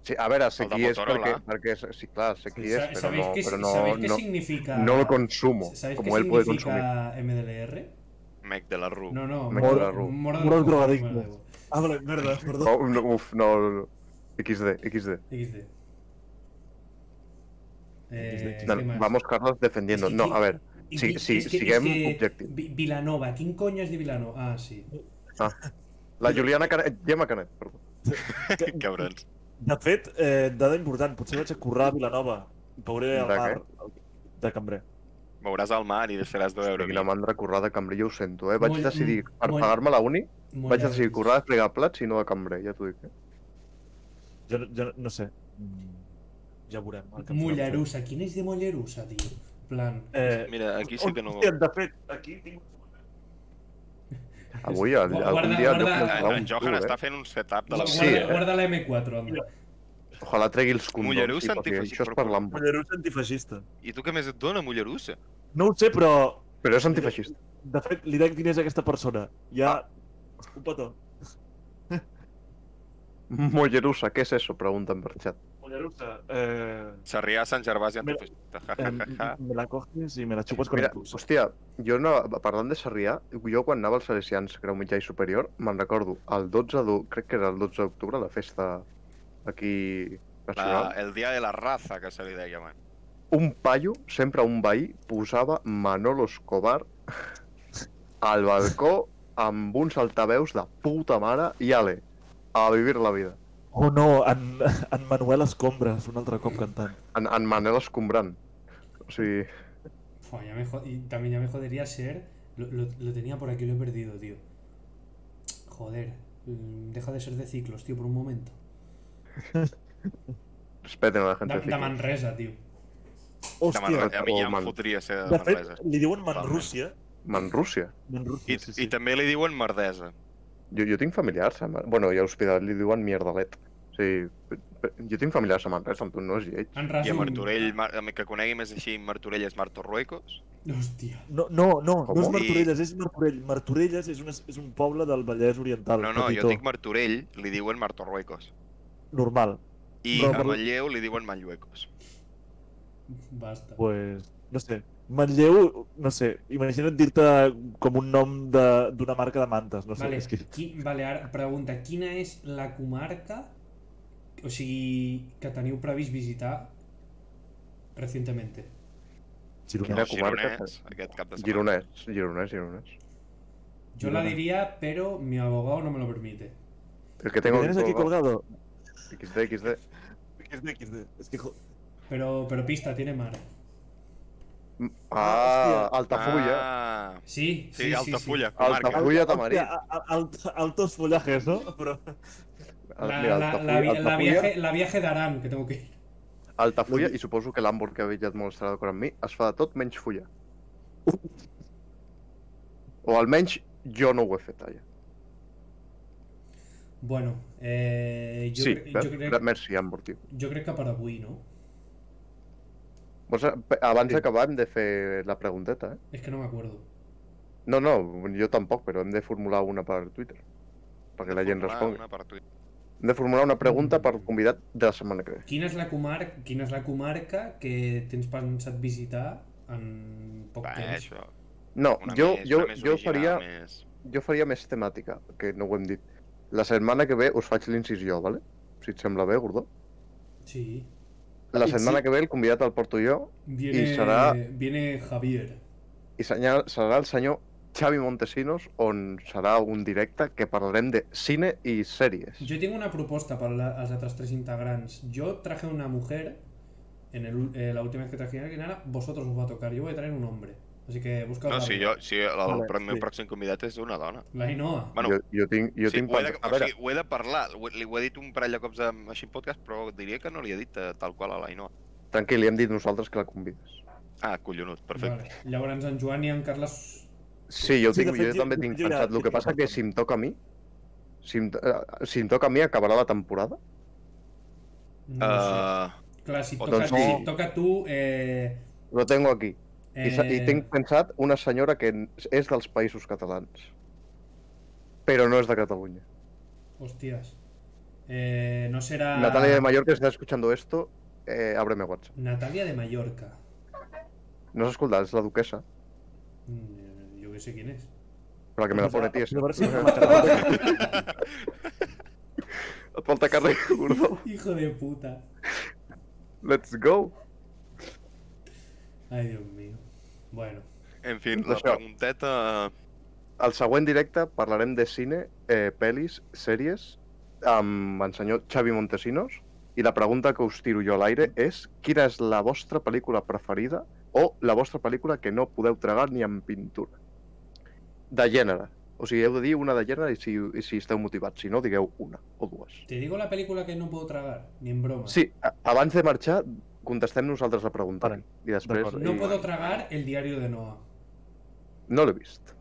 Speaker 3: Sí, a veure, sé
Speaker 2: El de
Speaker 3: qui és
Speaker 2: Motorola.
Speaker 3: perquè, perquè... Sí, clar, sé qui és,
Speaker 1: Sa-
Speaker 3: però no,
Speaker 1: qué,
Speaker 3: però no,
Speaker 1: sabéis qué
Speaker 3: no,
Speaker 1: significa?
Speaker 3: no lo consumo,
Speaker 1: ¿Sabéis
Speaker 3: com
Speaker 1: qué
Speaker 3: ell pot consumir.
Speaker 1: significa MDLR?
Speaker 2: Mec de la Ru.
Speaker 1: No, no,
Speaker 3: Me
Speaker 1: mor-
Speaker 3: queda ru.
Speaker 1: mora de
Speaker 4: Moros
Speaker 1: cojones,
Speaker 4: drogadictos.
Speaker 1: me la debo.
Speaker 4: Ah, vale, merda, perdó.
Speaker 3: Oh, no, uf, no, no, no. XD, XD.
Speaker 1: XD. Eh,
Speaker 3: No,
Speaker 1: ¿qué más?
Speaker 3: vamos, Carlos, defendiendo.
Speaker 1: Es que-
Speaker 3: No, a ver.
Speaker 1: Y
Speaker 3: Sí,
Speaker 1: vi-
Speaker 3: sí,
Speaker 1: es que-
Speaker 3: siguem
Speaker 1: es que
Speaker 3: objectiu.
Speaker 1: Vi- Vilanova, ¿quién coño es de Vilanova? Ah, sí.
Speaker 3: La Juliana Canet, Gemma Canet, perdó.
Speaker 4: Que,
Speaker 2: Cabrons.
Speaker 4: de fet, eh, dada important, potser vaig a currar a Vilanova. Veuré el
Speaker 3: De
Speaker 4: mar de Cambrer.
Speaker 2: Veuràs al mar i deixaràs de veure.
Speaker 3: Hosti, quina
Speaker 2: mi.
Speaker 3: mandra currada de cambrer, jo ho sento, eh? Vaig
Speaker 1: Molt-
Speaker 3: decidir, per
Speaker 1: molt-
Speaker 3: pagar-me la uni, vaig
Speaker 1: Mollà.
Speaker 3: decidir currar de fregar plats i no de cambrer, ja t'ho dic. Eh?
Speaker 4: Jo, no- jo no- no sé. Mm, Ja veurem. el que em farà.
Speaker 1: Mollerussa, ¿quién es de Mollerussa, tío? En plan,
Speaker 4: Eh,
Speaker 2: Mira, aquí sí que no...
Speaker 4: Hòstia, de fet, aquí tinc...
Speaker 3: Avui, el,
Speaker 1: Guarda,
Speaker 3: algun dia,
Speaker 1: guarda.
Speaker 3: el Johan
Speaker 2: En,
Speaker 3: farà un
Speaker 2: Ah, en Johan
Speaker 3: tour,
Speaker 2: està
Speaker 3: eh?
Speaker 2: fent un setup de la
Speaker 3: Sí,
Speaker 1: guarda,
Speaker 2: vida.
Speaker 3: eh?
Speaker 1: guarda la M4, anda.
Speaker 3: Ojalà tregui els
Speaker 2: Mollerú
Speaker 3: condons, sí, perquè
Speaker 2: s'antifeixi,
Speaker 3: això és
Speaker 2: però-
Speaker 3: parlar amb...
Speaker 4: Mollerussa antifeixista.
Speaker 2: I tu què més et dona, Mollerussa?
Speaker 4: No ho sé, però...
Speaker 3: Però és antifeixista.
Speaker 4: De fet, li dec diners a aquesta persona. Ja... Un petó.
Speaker 3: Mollerussa, què és eso? Pregunten per xat.
Speaker 4: Mollerussa, eh...
Speaker 2: Sarrià, Sant Gervasi,
Speaker 4: Mira,
Speaker 2: antifeixista. Ja,
Speaker 4: eh,
Speaker 2: ja, ja, ja.
Speaker 4: me la coges i me la xupes con
Speaker 3: Mira,
Speaker 4: el pulso.
Speaker 3: hòstia, jo no, parlant de Sarrià, jo quan anava als Salesians Grau Mitjà i Superior, me'n recordo, el 12 d'octubre, crec que era el 12 d'octubre, la festa aquí
Speaker 2: La,
Speaker 3: nacional,
Speaker 2: el dia de la raza, que se li deia, man.
Speaker 3: un paio, sempre un veí, posava Manolo Escobar al balcó amb uns altaveus de puta mare i ale, a vivir la vida.
Speaker 4: Oh no, en, en Manuel Escombres, un altre cop cantant.
Speaker 3: En, en Manel Escombrant. O sigui,
Speaker 1: Fua, ya me jo- y también ya me jodería ser. Lo, lo- lo tenía por aquí, lo he perdido, tío. Joder, mm, deja de ser de ciclos, tío, por un momento.
Speaker 3: respeten a la gent.
Speaker 1: Da,
Speaker 3: de
Speaker 1: da
Speaker 3: Ciclo.
Speaker 1: Manresa, tío.
Speaker 2: De
Speaker 4: Hòstia,
Speaker 2: Manresa. A mi ja em
Speaker 3: Man-
Speaker 2: fotria ser de
Speaker 4: de fet,
Speaker 2: Manresa.
Speaker 4: li diuen
Speaker 2: Totalment.
Speaker 4: Manrússia.
Speaker 3: Manrússia.
Speaker 2: I,
Speaker 4: Manrússia, sí,
Speaker 2: I
Speaker 4: sí.
Speaker 2: també li diuen merdesa.
Speaker 3: Jo, jo tinc familiars, a Man... bueno, i a Hospitalet li diuen mierdalet. O sigui, pe- pe- jo tinc familiars a Manresa, amb tu no és lleig.
Speaker 1: En
Speaker 2: I a
Speaker 1: resum...
Speaker 2: Martorell, Mar... el que conegui més així, Martorell és Martorruecos.
Speaker 1: Hòstia.
Speaker 4: No, no, no, no és
Speaker 3: Com?
Speaker 4: Martorelles, és Martorell. Martorelles és un, és un poble del Vallès Oriental,
Speaker 2: No, no, jo
Speaker 4: petitó,
Speaker 2: dic Martorell, li diuen Martorruecos.
Speaker 4: normal.
Speaker 2: I
Speaker 4: No,
Speaker 2: a
Speaker 4: però-
Speaker 2: Manlleu li diuen Manlluecos.
Speaker 1: Basta.
Speaker 4: Pues, no sé, Manlleu, no sé, imagina't dir-te com un nom de- d'una marca de mantes, no sé,
Speaker 1: Vale,
Speaker 4: és que...
Speaker 1: qui, vale, ara pregunta, quina és la comarca o sigui, que teniu previst visitar recentment?
Speaker 3: Quina
Speaker 4: Gironès.
Speaker 2: No,
Speaker 3: comarca,
Speaker 2: Gironès, aquest cap de setmana.
Speaker 3: Gironès, Gironès, Gironès.
Speaker 1: Jo la
Speaker 4: Girona.
Speaker 1: diria, però mi abogado no me lo permite.
Speaker 3: El que tengo
Speaker 4: Tienes aquí colgado.
Speaker 3: XD, XD.
Speaker 5: XD, XD.
Speaker 4: Es que, jo-
Speaker 1: Pero, pero pista, tiene mar.
Speaker 3: Mm,
Speaker 4: Ah,
Speaker 3: Ah, Altafulla.
Speaker 2: Ah,
Speaker 1: Sí, sí,
Speaker 2: sí, Altafulla, comarca.
Speaker 3: Altafulla, Tamarit.
Speaker 4: hòstia, a- a- alt, altos follajes, no? Però...
Speaker 1: La,
Speaker 3: Al-
Speaker 1: la,
Speaker 3: Ah, mira,
Speaker 1: la,
Speaker 3: Altafulla,
Speaker 1: vi- la
Speaker 3: Altafulla,
Speaker 1: viaje, Mm. la viaje de Aram, que tengo que ir.
Speaker 3: Altafulla, i suposo que l'Ambor que ha viatjat molt estarà d'acord amb mi, es fa de tot menys fulla. O almenys jo no ho he fet allà.
Speaker 1: Bueno, eh, jo,
Speaker 3: Sí,
Speaker 1: cre-
Speaker 3: eh,
Speaker 1: jo, crec,
Speaker 3: merci, Ambor, tio.
Speaker 1: jo crec que per avui, no?
Speaker 3: Vols, pe- abans
Speaker 4: Sí.
Speaker 3: d'acabar hem de fer la pregunteta, eh?
Speaker 1: És que no m'acuerdo.
Speaker 3: No, no, jo tampoc, però hem de formular una per Twitter. Perquè la gent
Speaker 2: Formular
Speaker 3: respongui.
Speaker 2: Ah, una per tu.
Speaker 3: Hem de formular una pregunta
Speaker 1: Mm.
Speaker 3: per convidat de la setmana que ve.
Speaker 1: Quina és la comarca, quina és la comarca que tens pensat visitar en poc
Speaker 2: Va, eh,
Speaker 1: temps?
Speaker 2: això.
Speaker 3: No,
Speaker 2: Una
Speaker 3: jo,
Speaker 2: més,
Speaker 3: jo,
Speaker 2: una més
Speaker 3: jo,
Speaker 2: original, eh.
Speaker 3: faria,
Speaker 2: Més...
Speaker 3: jo faria més temàtica, que no ho hem dit. La setmana que ve us faig l'incisió, vale? Si et sembla bé, Gordó.
Speaker 1: Sí.
Speaker 3: La
Speaker 4: Ah,
Speaker 3: setmana
Speaker 4: sí.
Speaker 3: que ve el convidat el porto jo
Speaker 1: Viene,
Speaker 3: Y será-
Speaker 1: viene Javier.
Speaker 3: i senya- serà el senyor Xavi Montesinos on serà un directe que parlarem de cine i sèries.
Speaker 1: Yo tengo una propuesta para la- las otras tres integrantes. Yo traje una mujer en el ul- eh, la última vez que traje a alguien. Ahora vosotros os va a tocar. Yo voy a traer un hombre. Así que busca
Speaker 2: No,
Speaker 1: otra
Speaker 2: si
Speaker 1: vez.
Speaker 2: jo, si el,
Speaker 4: Vale,
Speaker 2: el meu
Speaker 4: sí.
Speaker 2: pròxim convidat és una dona.
Speaker 1: La Inoa.
Speaker 2: Bueno,
Speaker 3: jo, jo tinc, jo tinc
Speaker 2: ho he, de,
Speaker 3: pensat-
Speaker 2: o sigui, ho he de parlar, ho, he- li ho he dit un parell de cops amb, així en podcast, però diria que no li he dit eh, tal qual a l'Ainoa.
Speaker 3: Tranquil, li hem dit nosaltres que la convides.
Speaker 2: Ah, collonut, perfecte.
Speaker 1: Vale. Llavors en Joan i en Carles...
Speaker 3: Sí, jo,
Speaker 4: Sí,
Speaker 3: sí,
Speaker 4: de
Speaker 3: tinc,
Speaker 4: fet,
Speaker 3: jo
Speaker 4: jo-
Speaker 3: també
Speaker 4: jo-
Speaker 3: tinc
Speaker 4: jo ja-
Speaker 3: pensat.
Speaker 4: jo
Speaker 3: El que
Speaker 4: tinc
Speaker 3: passa que
Speaker 4: pensat.
Speaker 3: si em toca a mi, si em, eh, si em toca a mi acabarà la temporada.
Speaker 1: No
Speaker 2: Vale.
Speaker 1: ho
Speaker 2: Uh,
Speaker 1: sé. Clar, si et
Speaker 2: o
Speaker 1: toca,
Speaker 2: doncs
Speaker 1: si et
Speaker 2: no.
Speaker 1: toca tu... Eh,
Speaker 3: Lo tengo aquí. I, sa- I
Speaker 1: eh,
Speaker 3: tinc pensat una senyora que n- és dels països catalans. Però no és de Catalunya.
Speaker 1: Hostias. Eh, no
Speaker 4: Ah.
Speaker 1: será...
Speaker 3: Natalia de Mallorca, si estás escuchando esto, eh, ábreme WhatsApp.
Speaker 1: Natalia de Mallorca.
Speaker 3: No has escoltat, és la duquesa.
Speaker 1: Mm, Yo que sé quién es.
Speaker 3: Però la que me la pone, tia.
Speaker 4: Llavors, sí,
Speaker 3: Et falta carrer, gordo.
Speaker 1: Hijo de puta.
Speaker 3: Let's go.
Speaker 1: Ay, Dios mío. Bueno.
Speaker 2: Eh, en fi,
Speaker 3: Doncs
Speaker 2: la
Speaker 3: això.
Speaker 2: pregunteta... eh,
Speaker 3: Al següent directe parlarem de cine, eh, pel·lis, sèries, amb el senyor Xavi Montesinos. I la pregunta que us tiro jo a l'aire és quina és la vostra pel·lícula preferida o la vostra pel·lícula que no podeu tragar ni amb pintura? De gènere. O sigui, heu de dir una de gènere i si, i si esteu motivats. Si no, digueu una o dues.
Speaker 1: Te digo la película que no puedo tragar, ni en broma.
Speaker 3: Sí, a- abans de marxar, contestem nosaltres la pregunta.
Speaker 4: Vale.
Speaker 3: I després...
Speaker 4: D'acord.
Speaker 1: No
Speaker 3: i-
Speaker 1: puedo tragar el diario de Noah.
Speaker 3: no l'he vist.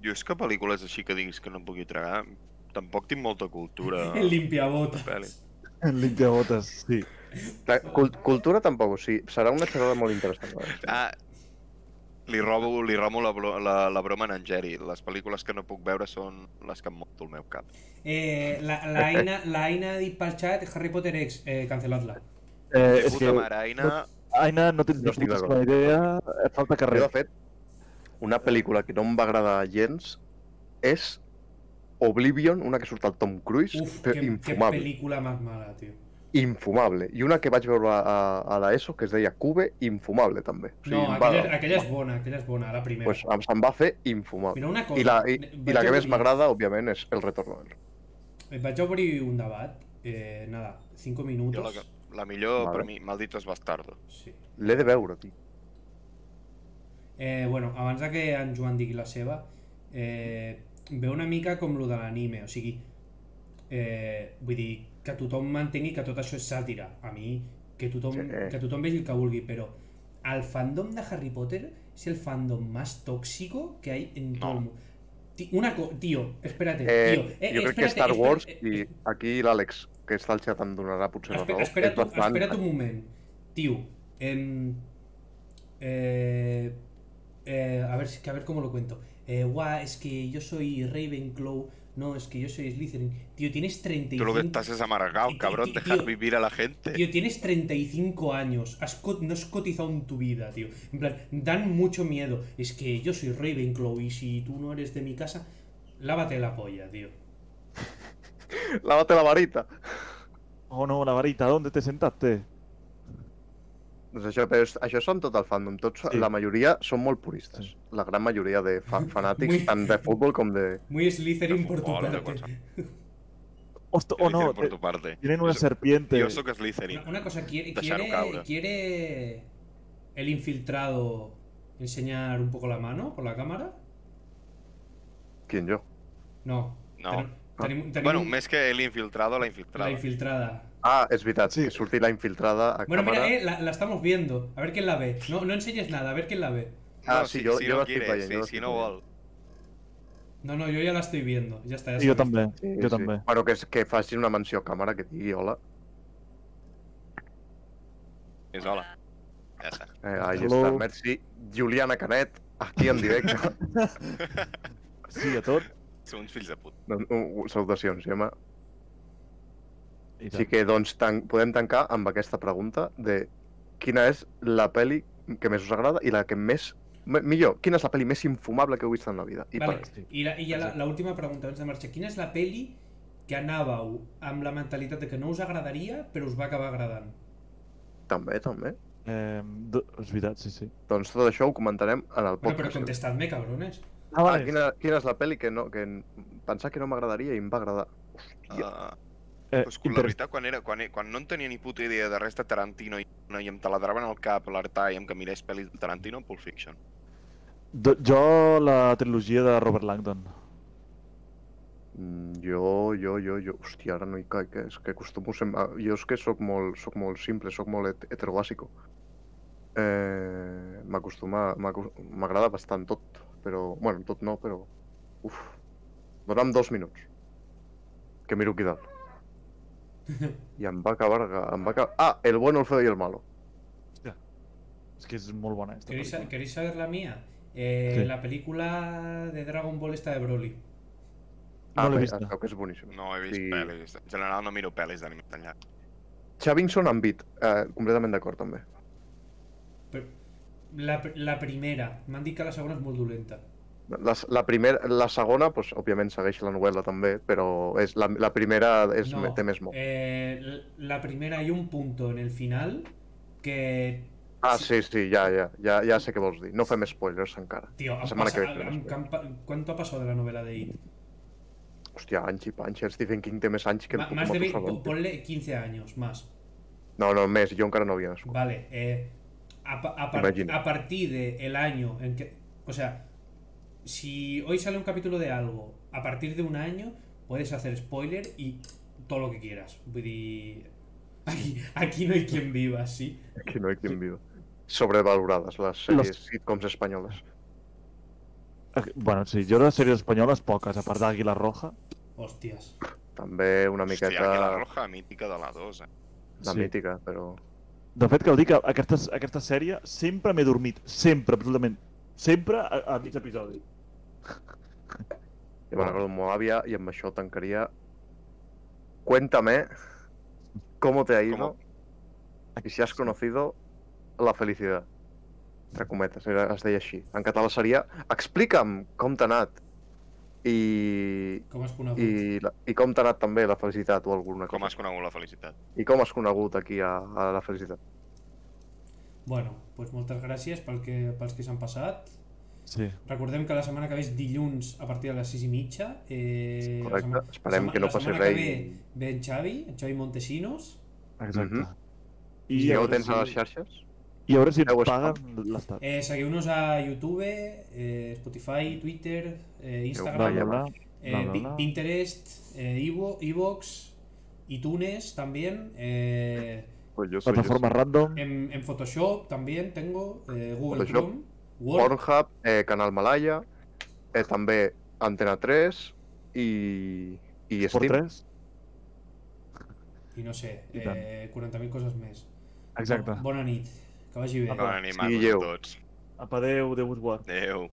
Speaker 2: Jo és que pel·lícules així que diguis que no em pugui tragar, tampoc tinc molta cultura.
Speaker 1: El limpiabotas.
Speaker 2: Vale.
Speaker 4: Limpiabotes, sí.
Speaker 3: La cul- cultura tampoc, o sigui, serà una xerrada molt interessant. eh? la veritat.
Speaker 2: Ah, li robo, li robo la, blo- la, la broma en en Geri. Les pel·lícules que no puc veure són les que em monto el meu cap.
Speaker 1: Eh, la, la, Aina, la Aina dit pel xat, Harry Potter X, eh, canceladla.
Speaker 4: Eh,
Speaker 2: Eh,
Speaker 4: és
Speaker 2: Puta
Speaker 4: que,
Speaker 2: mare, Aina...
Speaker 4: Aina, no tens
Speaker 3: No
Speaker 4: ni
Speaker 3: estic
Speaker 4: puta
Speaker 3: d'acord.
Speaker 4: seva idea, et falta
Speaker 3: Jo,
Speaker 4: carrer.
Speaker 3: de fet, una pel·lícula que no em va agradar gens és Oblivion, una que surt el Tom Cruise,
Speaker 1: Uf,
Speaker 3: però
Speaker 1: que, que
Speaker 3: infumable.
Speaker 1: pel·lícula més mala, tio.
Speaker 3: infumable. I una que vaig veure a, a l'ESO, que es deia Cube, infumable, també. O
Speaker 1: No,
Speaker 3: em va
Speaker 1: aquella,
Speaker 3: agradar.
Speaker 1: aquella és bona, aquella és bona, la primera.
Speaker 3: Pues, em- se'm va fer infumable.
Speaker 1: Mira, una cosa... eh,
Speaker 3: I la, i,
Speaker 1: vaig
Speaker 3: i la que més
Speaker 1: obrir-
Speaker 3: m'agrada, òbviament, és El retorno del rei.
Speaker 1: Vaig obrir un debat, eh, nada, 5
Speaker 2: Jo la,
Speaker 1: minuts.
Speaker 2: que- la millor
Speaker 3: Vale.
Speaker 2: per mi, Malditos Bastardo.
Speaker 1: Sí.
Speaker 3: L'he de veure, tio.
Speaker 1: Eh, bueno, abans de que en Joan digui la seva, eh, ve una mica com lo de l'anime, o sigui, eh, vull dir, que tothom mantengui que tot això és sàtira. A mi, que tothom,
Speaker 3: Sí. eh.
Speaker 1: que tothom vegi el que vulgui, però el fandom de Harry Potter és el fandom més tòxico que hi ha en
Speaker 2: No.
Speaker 1: tot el món. Ti- Una co... Tío, espérate,
Speaker 3: Eh,
Speaker 1: tío. Eh,
Speaker 3: jo crec que
Speaker 1: espérate,
Speaker 3: Star Wars,
Speaker 1: espérate, eh,
Speaker 3: i aquí l'Àlex, que està al xat, em donarà potser la
Speaker 1: Espera,
Speaker 3: raó.
Speaker 1: espera't,
Speaker 3: és bastant-
Speaker 1: espera't un moment. Tio, em, eh, eh, a ver, si- que a ver cómo lo cuento. Eh, guau, es que yo soy Ravenclaw, no, es que yo soy Slytherin. Tío, tienes
Speaker 2: Tú lo que
Speaker 1: 35...
Speaker 2: estás es amargado,
Speaker 1: Tío,
Speaker 2: cabrón,
Speaker 1: tío,
Speaker 2: dejar
Speaker 1: tío.
Speaker 2: vivir a la gente.
Speaker 1: Tío, tienes 35 años, has co- no has cotizado en tu vida, tío. En plan, dan mucho miedo. Es que yo soy Ravenclaw y si tú no eres de mi casa, lávate la polla, tío.
Speaker 3: Lávate la varita.
Speaker 4: Oh no, la varita, ¿dónde te sentaste?
Speaker 3: Doncs això, però és- això són tot el fandom. Tots,
Speaker 4: Sí.
Speaker 3: La majoria són molt puristes.
Speaker 4: Sí.
Speaker 3: La gran majoria de fa fanàtics,
Speaker 1: Muy-
Speaker 3: tant de futbol com de...
Speaker 1: Muy Slytherin por tu
Speaker 2: Hola,
Speaker 1: parte.
Speaker 2: cosa.
Speaker 4: Hosto-
Speaker 2: Te
Speaker 4: oh
Speaker 2: lo dicen
Speaker 4: no,
Speaker 2: por
Speaker 4: te-
Speaker 2: tu parte.
Speaker 4: tienen una serpiente.
Speaker 2: Yo soy que es Slytherin.
Speaker 1: Una, una cosa, ¿quiere,
Speaker 2: Deixar-ho
Speaker 1: quiere,
Speaker 2: caure.
Speaker 1: quiere el infiltrado enseñar un poco la mano con la cámara?
Speaker 3: Quien jo?
Speaker 1: No.
Speaker 2: No.
Speaker 1: Tenim- tenim- tenim
Speaker 2: Bueno,
Speaker 1: un-
Speaker 2: més que el infiltrado, la
Speaker 1: la
Speaker 2: infiltrada.
Speaker 1: infiltrada.
Speaker 3: Ah, és veritat,
Speaker 4: Sí.
Speaker 3: sí. que surti la infiltrada a
Speaker 1: Bueno,
Speaker 3: càmera.
Speaker 1: mira, eh, la, la estamos viendo. A ver quién la ve. No, no enseñes nada, a ver quién la ve.
Speaker 3: Ah,
Speaker 2: No,
Speaker 3: sí,
Speaker 2: si,
Speaker 3: jo-
Speaker 2: si
Speaker 3: jo
Speaker 2: no
Speaker 3: l'estic
Speaker 2: quiere,
Speaker 3: veient, jo
Speaker 2: si, si
Speaker 3: l'estic
Speaker 2: no
Speaker 3: veient.
Speaker 2: vol.
Speaker 1: No, no, yo ya la estoy viendo. Ya está, ya
Speaker 4: Sí, yo
Speaker 1: está.
Speaker 4: también, yo también.
Speaker 3: Bueno, que, és- que faci una menció a càmera que digui hola.
Speaker 2: És hola. Ja està.
Speaker 3: Eh, ahí
Speaker 4: Hello.
Speaker 3: està, merci. Juliana Canet, aquí en directe.
Speaker 4: Sí, a tot.
Speaker 2: Són uns fills de puta.
Speaker 3: Doncs, u- u- Salutacions, Gemma.
Speaker 4: I
Speaker 3: Així
Speaker 4: tant.
Speaker 3: que, doncs, tan podem tancar amb aquesta pregunta de quina és la pel·li que més us agrada i la que més... me- Millor, quina és la pel·li més infumable que heu vist en la vida? I
Speaker 1: Vale,
Speaker 3: per-
Speaker 1: i, la, i ja la, la última pregunta abans de marxar. Quina és la peli que anàveu amb la mentalitat de que no us agradaria, però us va acabar agradant?
Speaker 3: També, també.
Speaker 4: Eh,
Speaker 2: Em,
Speaker 4: do- és veritat, sí, sí.
Speaker 3: Doncs tot això ho comentarem en el
Speaker 1: Bueno, però
Speaker 3: podcast.
Speaker 1: contestadme, cabrones.
Speaker 4: Ah,
Speaker 3: ah, quina, quina és la pel·li que, no, que n- pensar que no m'agradaria i em va agradar? Hòstia,
Speaker 2: Ah,
Speaker 4: Eh,
Speaker 2: pues, la veritat, quan, era, quan, e, quan no en tenia ni puta idea de res de Tarantino i, i em taladraven el cap a l'Artà i em que mirés pel·lis de Tarantino, Pulp Fiction.
Speaker 4: Do- jo la trilogia de Robert Langdon.
Speaker 3: mm, jo, jo, jo, jo... Hòstia, ara no hi caic, eh? és que acostumo... Sem... a- Jo és que sóc molt, sóc molt simple, sóc molt het heterobàsico. Eh, M'acostuma... m'acos- M'agrada bastant tot, però... Bueno, tot no, però... Uf, dona'm dos minuts. Que miro aquí dalt. I em va acabar... Em va acabar... Ah, el bueno, el feo i el malo.
Speaker 4: És que és molt bona, aquesta
Speaker 1: ¿Queréis, sa-
Speaker 4: pel·lícula.
Speaker 1: queréis saber la mía? Eh,
Speaker 4: Sí.
Speaker 1: La película de Dragon Ball esta de Broly.
Speaker 4: No
Speaker 2: Ah,
Speaker 4: l'he
Speaker 3: bé,
Speaker 4: vista.
Speaker 3: es veu Ah, que és boníssim.
Speaker 2: No he vist
Speaker 3: Sí.
Speaker 2: sí. pel·lis. En general no miro pel·lis d'anime tan llarg.
Speaker 3: Chavinson amb Beat, eh, completament d'acord també.
Speaker 1: Però- La, pr- la primera. M'han dit que la segona és molt dolenta.
Speaker 3: La, la, primera, la segona, pues, òbviament segueix la novel·la també, però és la, la primera és, no. té més mort.
Speaker 1: Eh, l- la primera hay un punto en el final que...
Speaker 3: Ah, sí, sí, ja, ja, ja, ja sé què vols dir. No fem spoilers encara.
Speaker 1: Tío,
Speaker 3: La setmana que ve farem spoilers.
Speaker 1: ¿cuánto ha pasado de la novela de It?
Speaker 3: Hòstia, anys i panys, el Stephen King té més anys que el
Speaker 1: Ma- más de
Speaker 3: Pokémon
Speaker 1: vein-
Speaker 3: Salón.
Speaker 1: po- ponle 15 años más.
Speaker 3: No, no, més, jo encara no havia nascut.
Speaker 1: Vale. eh, a, pa- a par-
Speaker 3: Imagina.
Speaker 1: a partir del año en que. O sea, si hoy sale un capítulo de algo, a partir de un año puedes hacer spoiler y todo lo que quieras. Vull dir, Aquí, aquí no hay quien viva, sí.
Speaker 3: Que no hi ha qui en viu. Sobrevalorades, les sèries
Speaker 4: Les-
Speaker 3: sitcoms espanyoles.
Speaker 4: Ah, Bueno, sí, jo de sèries espanyoles poques, a part d'Àguila Roja.
Speaker 1: Hostias.
Speaker 3: També una
Speaker 2: Hòstia,
Speaker 3: miqueta
Speaker 2: aquella roja mítica de la 2, eh?
Speaker 3: la
Speaker 4: Sí.
Speaker 3: mítica, però...
Speaker 4: De fet, cal dir que aquesta, aquesta sèrie sempre m'he dormit. Sempre, absolutament. Sempre a, a mig episodi.
Speaker 3: I me'n recordo amb Moàvia i amb això tancaria... Cuéntame cómo te ha ido y si has conocido la felicidad. Entre cometes, era, es deia així. En català seria explica'm com t'ha anat i,
Speaker 1: Com has conegut?
Speaker 3: i, la, i com t'ha anat també la felicitat o alguna
Speaker 2: Com
Speaker 3: cosa.
Speaker 2: has conegut la felicitat?
Speaker 3: I com has conegut aquí a, a la felicitat.
Speaker 1: Bueno, pues moltes gràcies pel que, pels que s'han passat.
Speaker 4: Sí.
Speaker 1: Recordem que la setmana que ve és dilluns a partir de les 6 i mitja. Eh,
Speaker 3: Correcte.
Speaker 1: la sema-
Speaker 3: Esperem
Speaker 1: la sema-
Speaker 3: que no
Speaker 1: la
Speaker 3: passi
Speaker 1: setmana que
Speaker 3: res i-
Speaker 1: ve Ve en Xavi, en Xavi Montesinos.
Speaker 4: Exacte.
Speaker 3: Mhm.
Speaker 4: I,
Speaker 3: I ja ho
Speaker 4: veure
Speaker 3: tens a les
Speaker 4: si-
Speaker 3: xarxes?
Speaker 4: I a veure si ens
Speaker 3: Heu estat.
Speaker 4: paguen l'estat.
Speaker 1: Eh, seguiu-nos a YouTube, eh, Spotify, Twitter, eh,
Speaker 4: Bla,
Speaker 1: Instagram,
Speaker 3: vaya,
Speaker 4: bla, bla.
Speaker 1: eh,
Speaker 4: bla, bla,
Speaker 1: Pi-
Speaker 4: bla.
Speaker 1: Pinterest, eh, Ivo- iVoox, iTunes también, eh,
Speaker 2: Pues jo
Speaker 4: Plataforma random.
Speaker 1: en, en Photoshop también tengo, eh, Google
Speaker 3: Photoshop,
Speaker 1: Chrome, Word,
Speaker 3: Pornhub, eh, Canal Malaya, eh, també Antena 3 i, i
Speaker 4: Por
Speaker 3: Steam.
Speaker 4: 3?
Speaker 1: I no sé,
Speaker 4: I tant.
Speaker 1: eh, 40.000 coses més.
Speaker 4: Exacte.
Speaker 1: Bo- Bona nit. Que vagi bé.
Speaker 2: Bon
Speaker 4: Apa.
Speaker 2: animar
Speaker 3: Sigueu.
Speaker 2: tots.
Speaker 4: Apa, adeu, adeu, us guard.
Speaker 2: Adéu.